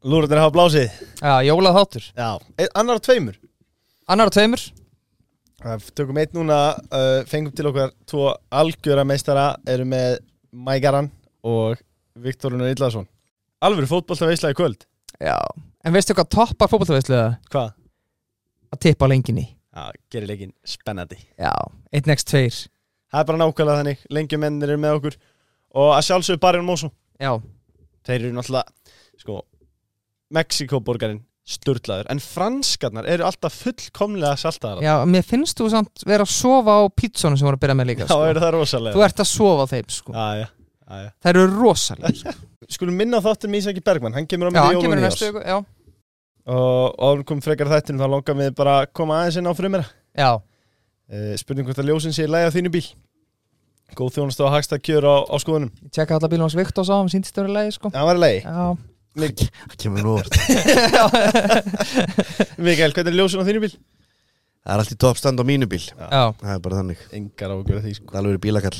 Lúrarnir hafa blásið Já, jólað þáttur Já, e, annar af tveimur Annar og tveimur Það Tökum eitt núna, uh, fengum til okkar tvo algjöra meistara eru með Mægaran og Viktorunur Illarsson Alvöru fótboltaveisla í kvöld Já En veistu hvað toppar fótbolltaveisluða? Hvað? Að tippa á lenginni Já, gerir leikin spennandi Já 1x2 Það er bara nákvæmlega þannig, lengjumennir eru með okkur og að sjálfsögðu Barjón Mósson Já Þeir eru náttúrulega, sko, Mexikoborgarinn sturlaður en franskarnar eru alltaf fullkomlega saltaðar Já, mér finnst þú samt vera að sofa á pítsónum sem voru að byrja með líka sko. Þá eru það rosalega Þú ert að sofa á þeim sko Já, já, já, já. Þær eru rosalega sko. Skulum minna á þáttum Ísaki Bergmann, hann kemur á Já, með hann kemur í í næstu viku Já, og áður kom frekar að þættinu þá langar við bara að koma aðeins inn á frumera já uh, spurning hvort að ljósin sé í lægi á þínu bíl góð þjónust og hagsta kjör á, á skoðunum Ég tjekka allar bílum hans Viktor sá hann síndist þér í lagi sko það var í lægi Já Mik Það kemur nú orð Mikael, hvernig er ljósin á þínu bíl? Það er allt í toppstand á mínu bíl Já Það er bara þannig engar ágjör því sko Það er alveg bílakall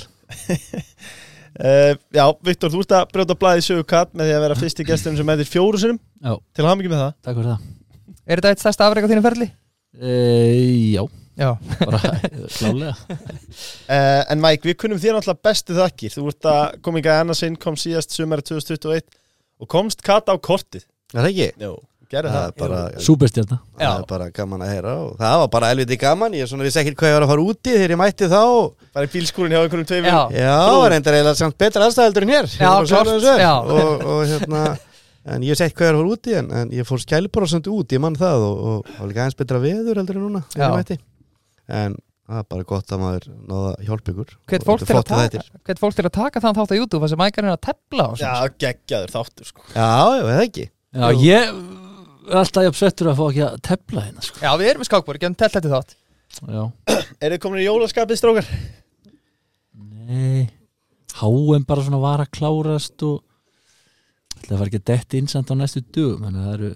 uh, Já, Viktor, þú ert að brjóta blaði sögu katt með því að vera fyrsti gesturinn sem mætir fjóru sinum Já. til hafa mikið með það Takk fyrir það Er þetta eitt stærsta afreik á þínum ferli? e, Já, Já bara klálega uh, En Mike, við kunnum þér náttúrulega bestu þakkir þú ert að koma hingað annars inn, kom síðast sumari 2021 og komst katt á kortið Er það ekki? Jó, gerði Það það, er bara, Súperstjarna það er bara gaman að heyra og það var bara elviti gaman Ég er svona vissi ekkert hvað ég var að fara úti þegar ég mætti þá bara í bílskúrin hjá einhverjum tveimur Já Já, það var reyndar eiginlega samt betra aðstæðaldur en hér Ég Já, var bara klárt, að svara þessu. já. og, og hérna En ég sé ekki hvað ég var að fara úti en, en ég fór skælborosamt út, ég mann það og, og, og líka aðeins betra veður heldur en núna þegar Já. ég mætti. En það er bara gott að maður náða hjálp ykkur Hvet Og fólk, þetta til að flottir taka- þættir. hvet fólk til að taka þann þátt á YouTube Það sem ægar er að tepla á Já, geggjaður þáttur sko Já, já, eða ekki Já, ég er alltaf jafn sveittur að fá ekki að tefla hérna sko. Já, við erum í skákbúri, gefum tell þetta þátt Já, Er þið komin í jólaskapið strókar? nei Háum bara svona var að klárast og ætla að fara ekki að detti innsamt á næstu dugum þannig að það eru,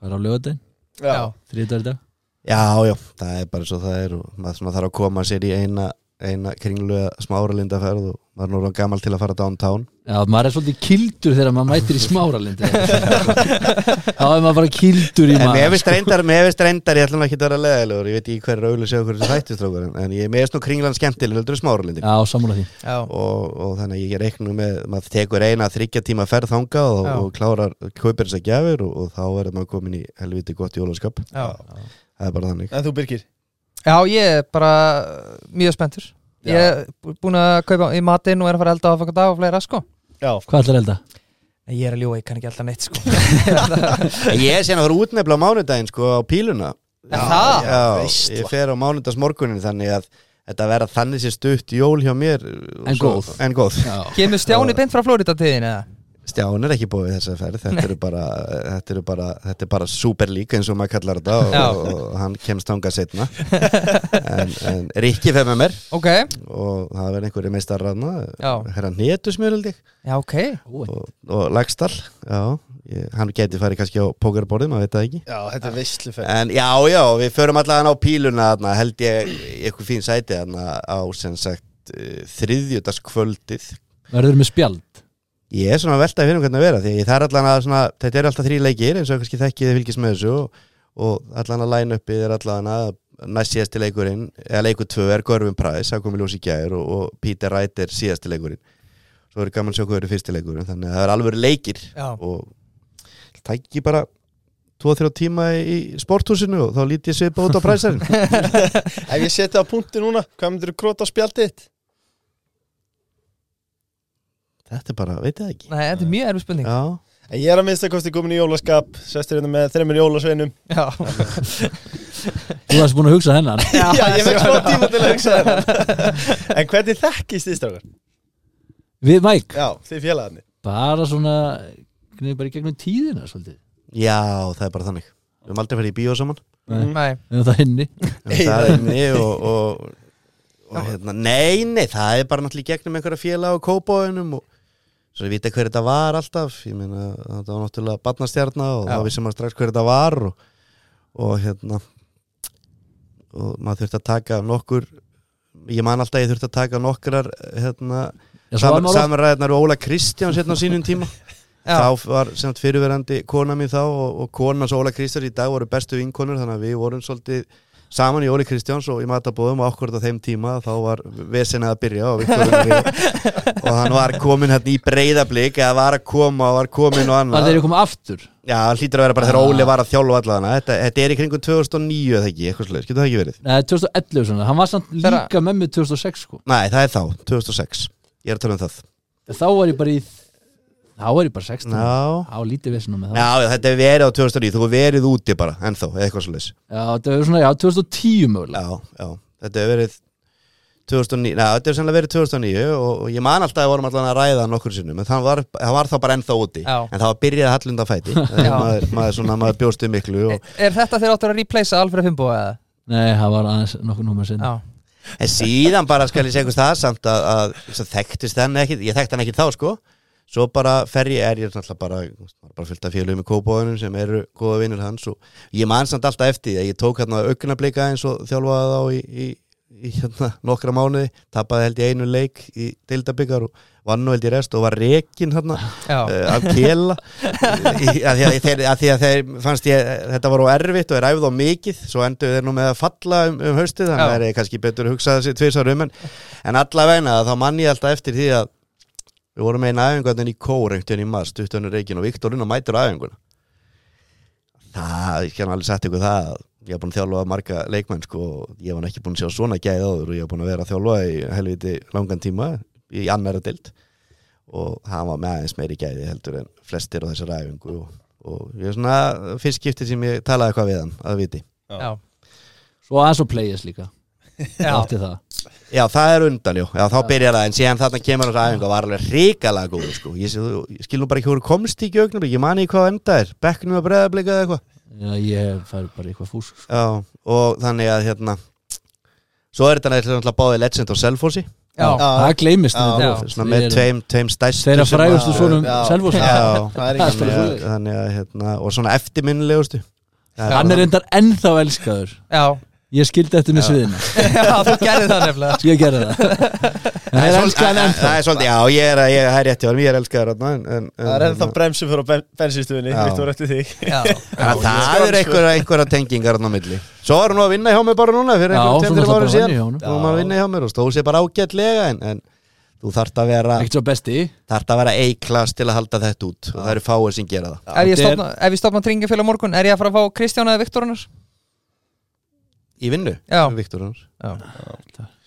hvað er á lögadegin? Já. Þriðdagur í dag? Já, já, það er bara svo það er og maður svona þarf að koma sér í eina, eina kringlega smára lindaferð og maður er nú orðinn gammal til að fara downtown Já, maður er svolítið kildur þegar maður mætir í smáralindi Þá er maður bara kildur í sko. En mér maður finnst reyndar, mér finnst reyndar, ég ætlum ekki að vera leðilegur ég veit ekki hver er auðvitað séu hverju þættistrókur en, en ég mér finnst nú kringlan skemmtileg heldur smára lindin Já, sammála því Já, og, og þannig að ég reiknum með maður tekur eina þryggja tíma ferð þanga og, Já. og klárar, kaupir þess að gjafir og, og þá er maður komin í helviti gott jólaskap já. það er bara þannig En þú Birgir? Já, ég er bara uh, mjög spenntur Ég er bú- búinn að kaupa í matinn og er að fara að elda á aðfaka dag og fleira sko Já, Hvað ætlar elda? Nei, ég er að ljúa, ég kann ekki elda neitt sko Ég er síðan að fara út nefnilega á mánudaginn sko á píluna Já, það? já ég fer á mánudags morgunin þannig að þetta verða þannig sér stutt jól hjá mér og En svo- góð. En góð Já, Kemur Stjáni beint frá Florida tíðin eða? Stján er ekki búið þess að ferð þetta eru bara, þetta eru bara, þetta er bara superlík eins og maður kallar þetta Já. og, og hann kemst þangað setna en, en Rikki fer með mér Ok, og það verður einhverju meistar ranna Já. hérna hnetusmjöruldi já ok og, og Lagstall já, ég, hann geti farið kannski á pókerborðið, maður veit það ekki já þetta er veistluferð En já, já, við förum allavega á píluna þarna, held ég í eitthvað fín sæti þarna á sem sagt eh, þriðjutaskvöldið verður með spjald Ég er svona að velta að finna hvernig að vera því að það er allavega svona, þetta eru alltaf þrý leikir eins og kannski þekkið þið fylgist með þessu og, og allavega line-upið er allavega næst síðasti leikurinn, eða leikur tvö er Görvin Price, það komið ljós í gær og, og Peter Wright er síðasti leikurinn Svo eru gaman að sjá hvað eru fyrsti leikurinn þannig að það eru alveg leikir Já. og tæki bara 2-3 tíma í sporthúsinu og þá lít ég svipa út á præsarinn Ef ég setja á punkti núna, hvað myndir þú króta á spjaldið þitt? Þetta er bara, veit ég það ekki Nei, þetta er mjög erfið spurning Já, En ég er að minnsta kosti komin í jólaskap Sestur hérna með þreymur jólasveinum Já, Þú varst búin að hugsa þennan Já, ég veit smá tíma til að hugsa það En hvernig þekkist þið strákar? Við Mike, Já, þið félagarnir bara svona Gnið bara í gegnum tíðina svolítið Já, það er bara þannig Við höfum aldrei farið í bíó saman Nei, nei en það henni Við höfum það inni og, og, og hérna, Nei, nei, það er bara náttúrulega í gegnum einhverja félag og kópóinum og svo ég vita hver þetta var alltaf ég meina, þetta var náttúrulega barnastjarna og Já. það vissi maður strax hver þetta var og, og hérna og maður þurfti að taka nokkur ég man alltaf að ég þurfti að taka nokkrar hérna, Já, svo var sam, maður oft- samræðnar og Óla Kristjáns hérna á sínum tíma Já, þá var sem sagt fyrirverandi kona mín þá og, og konas Óla Kristjáns í dag voru bestu vinkonur þannig að við vorum svolítið saman í Óli Kristjáns og í matabóðum og akkurat á þeim tíma þá var vesenið að byrja og, Viktorinn við, og hann var komin hérna í breyðablík eða var að koma og var komin og Var annað þeir að koma aftur Já, hann hlýtur að vera bara þegar Óli var að þjálfa allan þetta, þetta er í kringum 2009 eða ekki, eitthvað slags, getur það ekki verið? Nei, 2011 svona, hann var samt Þeirra- líka með mig 2006 sko Nei, það er þá, 2006 Ég er að tala um það Þá var ég bara í Þá var ég bara 16 Já, Á lítið vissinum með það Já, já, þetta er verið á 2009, þú hefur verið úti bara, ennþá, eða eitthvað svolítið Já, þetta var svona, já, 2010 mögulega Já, já, þetta hefur verið 2009, neða, þetta hefur sennilega verið 2009 og, og ég man alltaf að við vorum alltaf að ræða nokkur sinnum, en það var, það var þá bara ennþá úti Já. en það var byrjað hallunda fæti maður, maður, svona, maður bjóstu miklu og, er þetta þeir áttur að replacea Alfred Fimbo eða? Nei, það var aðeins nokkuð númer sinni Já, en síðan bara skal ég segja eitthvað það samt að, að svo þekktist hann ekki, ég þekkt hann ekki þá sko svo bara fer ég, er ég alltaf bara, bara fyllt af félögum í kópóðunum sem eru góða vinnur hans og ég man samt alltaf eftir því að ég tók hérna augnablika eins og þjálfaði þá í, í, í hérna, nokkra mánuði tapaði held ég einu leik í deildabikar og vann nú held ég rest og var rekin hérna já, uh, af kela í, að, því að, þeir, að því að þeir fannst ég þetta var á erfitt og er æfð á mikið svo endur þeir nú með að falla um, um haustið þannig Já. að það er kannski betur að hugsa þessi tvisar um en, en allavegna þá mann ég alltaf eftir því að við vorum með einu æfingarnir í kór einhvern veginn í maður stuttunur reikin og Viktor Runa mætur á æfinguna það, ég kann alveg sagt ykkur það að ég hef búin að þjálfa marga leikmenn sko, og ég hef hann ekki búin að sjá svona gæð áður og ég hef búin að vera að þjálfa í helviti langan tíma í annara dild og hann var með aðeins meiri gæði heldur en flestir á þessar æfingu og, og ég er svona fyrst skiptið sem ég talaði eitthvað við hann að viti já, Svo aðeins og players líka já. Átti það Já, það er undan, jú, já, þá byrjar það en síðan þarna kemur þessar æfingu og var alveg ríkalega góð sko. ég, sé- þú- ég skil nú bara ekki hvort komst í gjögnum ég mani ekki hvað enda er, bekknum að breða eða eitthvað Já, ég fær bara í eitthvað fúsk sko. Já, og þannig að hérna svo er þetta náttúrulega báði Legend og Selfossi já. Það gleymist Já. þetta Já. oft. svona Við með erum- tveim, tveim stæstu Þeirra frægustu að- svonum Já. Selfos Já, Það er ekki þannig bara að, svoleiðis. þannig að hérna, og svona eftirminnilegustu Það Hann er bara- reyndar ennþá elskaður já. Ég skildi eftir með sviðina já þú gerði það nefnilega Ég gerði það Það En þeir er elska hann svolítið- ennþá Það er svolítið, já, ég er, ég, það er rétt hjá hann, ég er elskaður hann en, en, Það er ennþá bremsum fyrir á ben, bensinstöðinni Já. Viktor eftir þig Já, en ég Það er eru einhverja, einhverja tengingar hann á milli Svo var hann nú að vinna hjá mér bara núna fyrir Já, einhverjum tveim árum svona það bara síðan vann í honum. Nú var hann að vinna hjá mér og stóð sér bara ágætlega en, en þú þarft að vera Ekkert svo besti þarft að vera A-klass til að halda þetta út og það eru fáið sem gera það Er ég þetta er- stofna, ef ég stopna tringafélag morgun, er ég að fara að fá Kristján eða Viktor hennar? Í vinnu, Já. Viktor Hans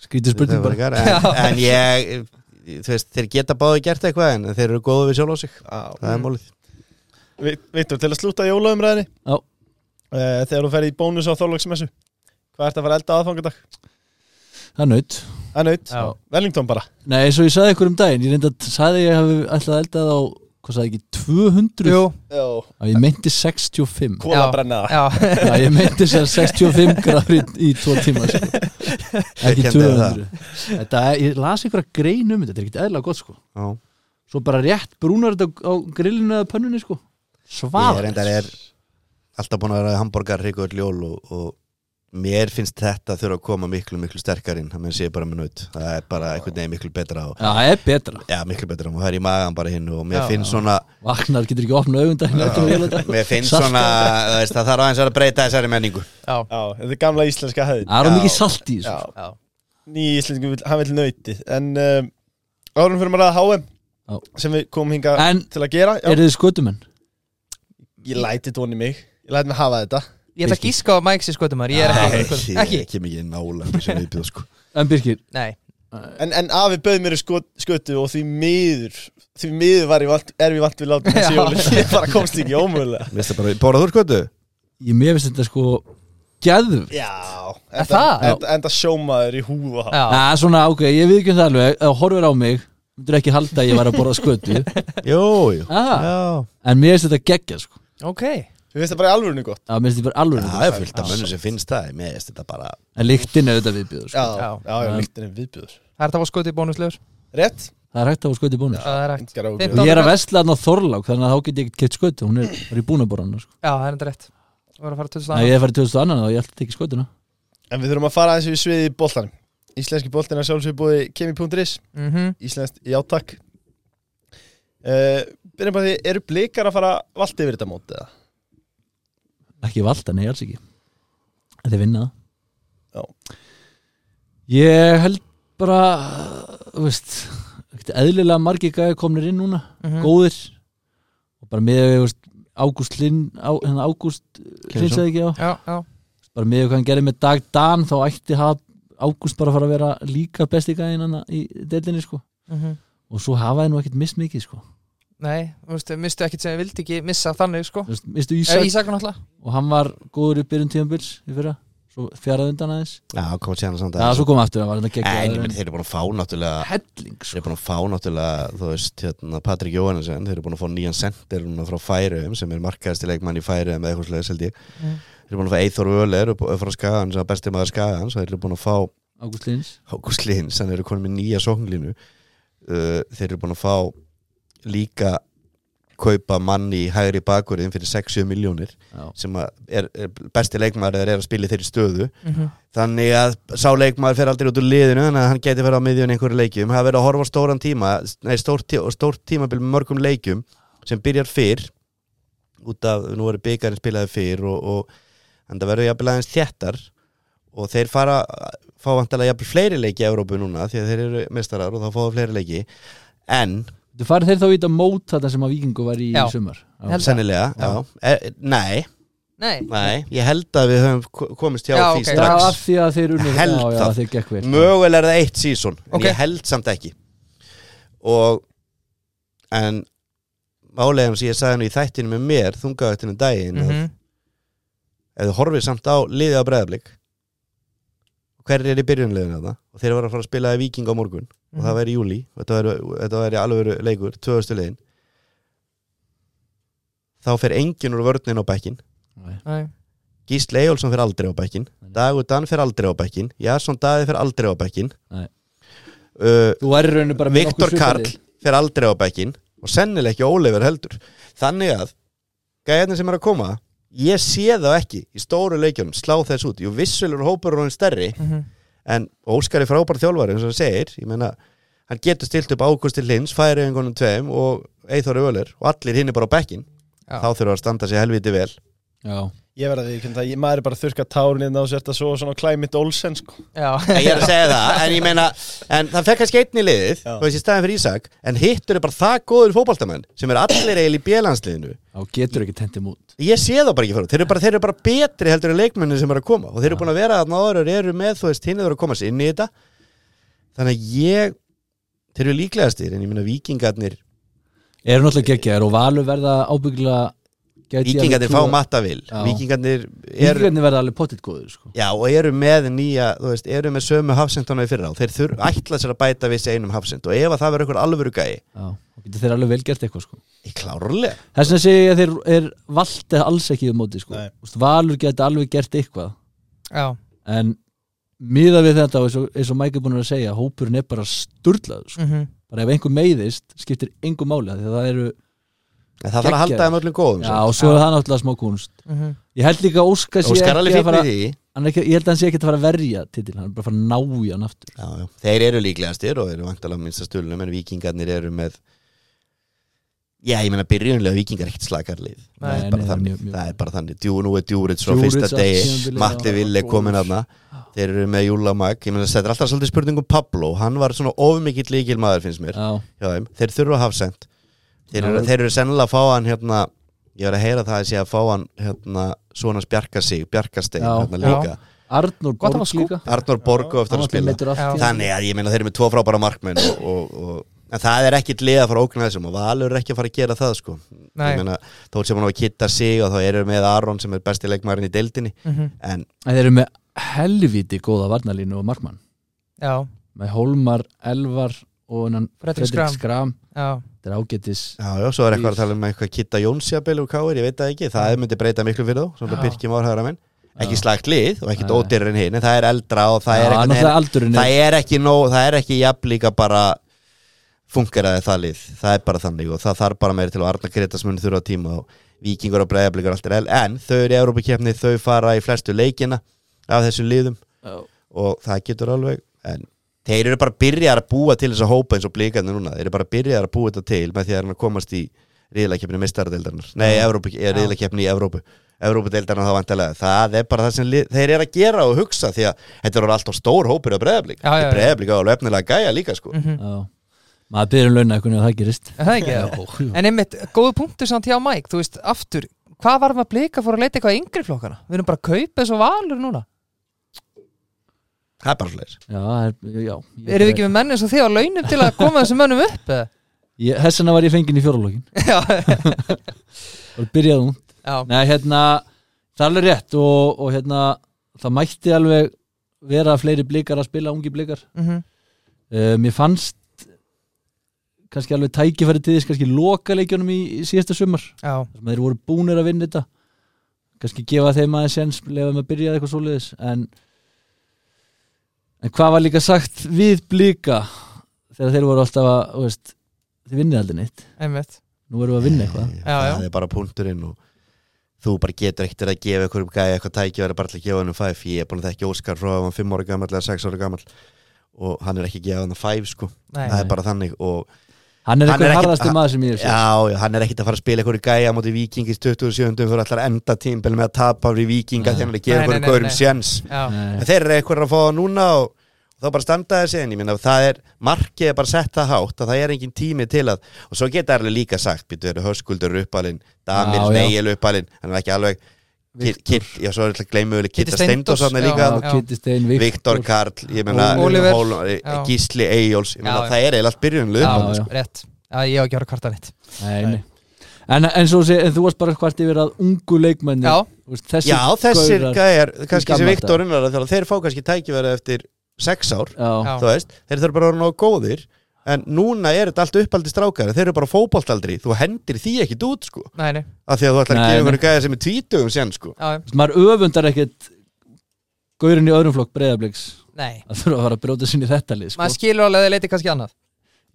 Skrítið spurning bara en, en ég, þú veist, þeir geta báði gert eitthvað en þeir eru góðu við sjálf á sig Það er málið Vi- Viktor, til að slúta jólaumræðinni Já. Eh, Þegar þú ferði í bónus á þorlóksmessu Hvað ert að fara að elda aðfangadag? Það er naut Það er naut, Já. Wellington bara Nei, eins og ég saði ykkur um daginn Ég reynda saði ég hafi alltaf eldað á Hvað saði ekki, 200 Jú, Að ég meinti 65 Kólabrenna já, Já, ég meinti sér 65 gráður í, í tvo tíma sko. ekki kenndi þér 200 þetta, er- ég las einhverja grein um þetta þetta er ekkert eðla gott sko Já. svo bara rétt brúnar þetta á grillinu eða pönnunni sko Ég svaðar reyndar er alltaf búin að vera hambúrgar hryggur ljól og, og mér finnst þetta þurfa að koma miklu, miklu sterkar inn það með sé bara með naut það er bara einhvern veginn miklu betra og, já, það er betra já, miklu betra og það er í magan bara hinn og Já. mér finnst svona vaknar getur ekki opnað augundag mér finnst svona þú veist, það þarf aðeins að breyta þessari menningu já, Já, þetta er gamla íslenska hefðin það er of Já. mikið salt í þessu sko. Já, já. ný íslensku, vill- hann vil nautið En um, árum fyrir maður að HM Já. Sem við komum hingað en til að gera Já, eru þið skutumenn? Ég læti tóni mig Ég læti mig hafa þetta Ég ætla að gíska á Mike sér skotum maður, ég er ekki Nei, skotum. ég er Ekki? ekki mikið nála sem við bjóð sko en Birkir, Nei, En, en afi bauð mér í skot, skötu og því miður Því miður var ég vant, er við vant við látum Já. þessi jóli Ég bara komst ekki ómögulega Veistu bara, borðað úr skotu? Ég mér finnst þetta sko gæðum Já Er það? Enda, enda sjómaður í húð og haf Já, Já, svona, ok, ég viðkjum það alveg Ef þú horfir á mig, myndir ekki halda að ég væri að borða skötu Jú, jú ah, Já, En mér finnst þetta geggja, sko ok Þú veist það bara í alvörinu gott Já, mér finnst þetta bara alveg það er fullt af mönnum sem finnst það Mér veist þetta bara En líktin er auðvitað viðbjöður, sko Já, já, já, Já. lyktin er viðbjöður Það er það var skotið bónuslegur Rétt? Það er hægt að fá skötu í bónus Það er hægt Engar áhyggjur. Fimmtán. Og ég er að vesla þarna á Þorlák, þannig að þá get ég ekkert keitt skötu Hún er bara í búnaborana, sko Já, það er enda rétt Þú verður að fara 20 Ef ég er farið 2000 annan, þá ég ætla að tekja skötuna En við þurfum að fara aðeins við sviði í boltanum Íslenski boltin er sjálfsögur búið kemi.is Mhm. Íslenskt játak uh, Byrjum bara því, eru blikar að fara valdi yfir þetta móti eða? Ekki valda, nei, alls ekki Þetta er vinnað Já. Ég held bara, þú veist ekkert Eðlilega margir gæði komnir inn núna Mhm. góðir og bara með þú veist, Ágúst Linn á, hérna Ágúst Hlynsson. hlinsaði ekki á Já, já bara með hvað hann gerði með Dag Dan þá ætti hafa Ágúst bara að fara að vera líka besti gæðin hann í delinni sko Mhm. og svo hafaði nú ekkert mist mikið sko Nei, þú veist, mistu ekkert sem ég vildi ekki missa þannig sko Þú veist, mistu Ísak, Ísak Ísak náttúrulega og hann var góður í byrjun tíðanbils í fyrra svo fjaraði undan aðeins Já, kom að séna samt það svo kom aftur hann var þetta En ég meni geggjað þeir eru búin að fá náttúrulega helling Þeir sko eru búin að fá náttúrulega, þú veist, hérna, Patrik Jóhannesson, þeir eru búin að fá nýjan sendir núna frá Færiðum sem er markaðistileikmann í Færiðum eða eitthvað slegis held ég. Mm. Þeir eru búin að fá Eithor Völer upp upp frá Skagan sem er besti maður Skagan, svo þeir eru búin að fá Ágúst Lins Ágúst Lins, þannig eru konum með nýja sóknlínu. Uh, þeir eru búin að fá líka kaupa mann í hægri bakurinn fyrir 60 miljónir Já. sem að er, er besti leikmaður er að spila í þeirri stöðu Mhm. þannig að sá leikmaður fer aldrei út úr liðinu þannig að hann geti verið á miðjun einhverju leikjum það er verið að horfa á stóran tíma nei, stórt, tí stórt tímabil með mörgum leikjum sem byrjar fyrr út af, nú eru byggarinn spilaði fyrr og, og en það verður jafnvel aðeins þéttar og þeir fara fá vantilega jafnvel fleiri leiki í Európu núna því að þeir eru mestarar og þá fá það fleiri leiki en þú farið þeir þá í þetta mót þetta sem að Víkingu var í Já. í sumar Já. Held- sennilega, Já. já, e, nei Nei, Nei, ég held að við höfum ko- komist hjá Já, því ok. Já, strax af því að þeir unnu Held já, já, það. þeir gekk vel Mögulega er það eitt sísón Ok. En ég held samt ekki Og En Málegum sem ég sagði nú í þættinu með mér Þungaðuttinu daginn mm Mhm. Ef þú horfir samt á liðið á breðablík Hver er í byrjunleginu þetta Og þeir voru að fara að spila í Víking á morgun Mhm. Og það væri í júli Og Þetta væri, þetta væri alveg leikur, tvöðustu legin Þá fer enginn úr vörnin á bekkin Nei. Nei. Gísli Eyjólfsson fyrir aldrei á bekkin Nei. Dagur Dan fyrir aldrei á bekkin Jason Daði fyrir aldrei á bekkin Nei. uh, þú væri rauninu bara með Viktor nokkuð svipað Karl lið. fyrir aldrei á bekkin og sennileg ekki Ólefur heldur þannig að gæðin sem er að koma ég sé þá ekki í stóru leikjunum slá þess út, jú vissulur hópur er honum stærri Mhm. en Óskar er frábær þjálfari eins og hann segir, ég meina hann getur stilt upp Ágústi Lins, Færiðingunum tveim og Eithor Öler og allir hinn er bara á bekkin Já. þá þurfa að standa sér helviti vel Já. Ég verða því, ég, maður er bara að hérna þurka tárin innan og sérta svo svona klæmið Olsen sko. Já, Nei, ég er að segja það, en ég meina en það fekk kannski einn í liðið, Já. þú veist, í staðin fyrir Ísak en hittur er bara það góður fótballtamenn sem er allir eiginlega í bjölandsliðinu Já, getur ekki tentið mút ég sé það bara ekki fyrir, þeir eru bara, þeir eru bara betri heldur en leikmenni sem eru að koma og þeir eru búin að vera að náður eru með, þú veist, hinn eru að komast inn í þetta þannig að ég þeir eru líklegastir, en ég meina vikingarnir Eru náttúrulega geggjaðir og Valur verða ábyggilega vikingarnir fá mattavil, Já. vikingarnir eru Vikingarnir verða alveg pottitt góður sko. Já, og eru með nýja, þú veist, eru með sömu hafsendana í fyrra og þeir þurr, ætla sér að bæta við sig einum hafsend og ef að það verður eitthvað alvöru gæi, Já, þá getur þeir alveg vel gert eitthvað sko. í klárlega Þess vegna segi ég að þeir er vald eða alls ekki í móti sko. Nei. Vist, Valur getur alveg gert eitthvað já, en miða við þetta eins og, eins og Mike er búin að segja, hópurinn er bara sturlaður sko. mhm bara ef einhver meiðist skiptir einhver máli af því að það eru, En það þarf að halda Geggjað. þeim öllum góðum sko. já svo. og svo er það náttúrulega smá kunst mhm. Ég held líka að Óskar sé Óskar ekki alveg að fyrir fara því hann er ekki, ég held að hann sé ekki að fara að verja titil, hann er bara að fara að ná í hann aftur já, já. Þeir eru líklegastir og eru vantalega minnsta stulnum en vikingarnir eru með Já, ég meina byrjunlega vikingar er ekkert slakarlið Nei, það, er nei, bara það er þannig. mjög- mjög- það er bara þannig Djú, nú er Djúrits frá Djuric fyrsta á degi tímabili, Matli já, Ville góður. komin aðna Þeir eru með Júlamag Ég meina þetta er alltaf svolítið spurning um Pablo Hann var svona ofumikill líkil maður finnst mér Já, hjá þeim, þeir þurfa að hafa sent þeir, Já. eru- þeir eru sennilega að fá hann hérna, ég var að heyra það að sé að fá hann hérna, svona spjarka sig, bjarkastein Já. hérna líka Arnur Gott að Borg fá skúp. líka Arnór Borgo eftir Hann að var til spila meiddur Já. aftur. Þannig að ég meina þeir eru með tvo frábæra markmenn og, og, og, En það er ekkit lið að fara að ógna þessum og Valur er ekki að fara að gera það sko Nei. Ég meina, þó sem hann var að kitta sig og þá eru við með Aron sem er besti leikmærin í deildinni Mhm. En En þeir eru með helviti góða varnalínu og markmann Já, með Holmar, Elvar og hennan Fredrik Schram. Skram já, þetta er ágætis já, já, svo er eitthvað að tala um eitthvað kitta Jónsjabel og Káir, ég veit það ekki, það myndi breyta miklu fyrir þá Svona Já. Birkjum árhæðra menn Ekki Já. slagt lið og ekkit Nei. ódýrur en hinn En það er eldra og það er Já, einhvern náttúrulega veginn- aldurinn er- Það er ekki nóg, það er ekki jafn líka bara fungeraði það lið það er bara þannig og það þarf bara meira til og Arna Gretas mun þurfa tíma og vikingur og breiðablikur allt er el, en þau eru í Európa-kefni þau fara í flestu leikina af þessum liðum og það getur alveg en þeir eru bara byrjar að búa til þess að hópa eins og blíkarnir núna, þeir eru bara byrjar að búa þetta til með því að hann komast í riðlakefni mistaradeildarnar, nei, Evrópu, Já. riðlakefni í Evrópu Evrópudeildarnar þá vantilega, það er bara það sem lið, þeir eru að gera og hugsa því að þetta eru alltaf stór hópur á breiðablík, Já, já, já. breiðablík á alveg efnilega gæja líka sko mhm Já. maður byrður launa eitthvað og það gerist Er það ekki það? En einmitt, góðu punktur samt hjá Mike, þú veist, aftur hvað varum að blika fór að leita eitthvað yngri flokkana? Við erum bara að kaupa þessu valur núna það er bara slæðis já, það er- já ég- Erum við ekki með menn eins og þið á launum til að koma þessum mönnum upp? eða? Ég- Þess vegna var ég fenginn í fjóralókin já, og byrjaði hún já, Nei, hérna, það er alveg rétt og, og hérna, það mætti alveg vera fleiri blikar að spila ungi blikar mhm, um, ég fannst kannski alveg tækifæri til þess kannski lokaleikjunum í, í síðasta sumar já, þar sem þeir voru búnir að vinna þetta kannski gefa þeim aðeins sjens lefa með að byrja eitthvað svoleiðis en, en hvað var líka sagt við blika þegar þeir voru alltaf að þú veist, þið vinnið aldrei neitt einmitt nú erum við að vinna eitthvað Já, já. það er bara punkturinn og þú bara getur ekkert verið að gefa einhverjum gæja eitthvað tæki verið bara til að gefa hann um 5 ég er búin að þekki Óskar frá að hann 5 ára gammal eða 6 ára gammal og hann er ekki að gefa hann 5 sko Nei, það er bara þannig og hann er Hann er eitthvað ekkit- harðasti maður sem ég er já, já, hann er ekkert að fara að spila einhverju gæja á móti vikingis 27. fyrir allar enda tímbil með að tapa við vikinga þegar hann er að gefa Nei, nei, einhverjum nei, gaurum nei. sjens já, En þeir eru eitthvað að fá það núna og þá bara standa þessi en ég minna það er markið er bara sett það hátt að það er engin tími til að og svo geta alveg líka sagt býtu eru höskuldur uppalinn, damir Já, já. neil uppalinn hann er ekki alveg Kit, Viktor. kit, já, svo er alltaf gleymið vel Kitta Kiddi Steindórs, Steindors hann já. líka Kitty Stein, Viktor Viktor Karl, ég meina Oliver. Hólm- eh, Já. Gísli Eyjóls, ég meina Já, já. það er eiginlega allt byrjunlu Já, já. rétt Já, ég á ekki að vera kvartan eitt Nei, nei. En, en, svo, sé- en þú varst bara hvart yfir að ungu leikmenni Já. þessi já þessir gaurar- gæjar, kannski gamla sem Viktor unnar þeir fá kannski tækifæri eftir sex ár já, Já. þú veist, þeir þurfa bara að vera nógu góðir en núna er þetta allt uppaldi strákar þeir eru bara fótboltaldri, þú hendir því ekkit út sko, Nei, nei, af því að þú ætlar að Nei, nei. gefa einhverju gæða sem er tvítugum sen sko já, já, Þú veist, maður öfundar ekkert gaurin í öðrum flokk breyðabliks nei að þurfa að fara að brjóta sinni þetta lið sko. Maður skilur alveg að þið leiti kannski annað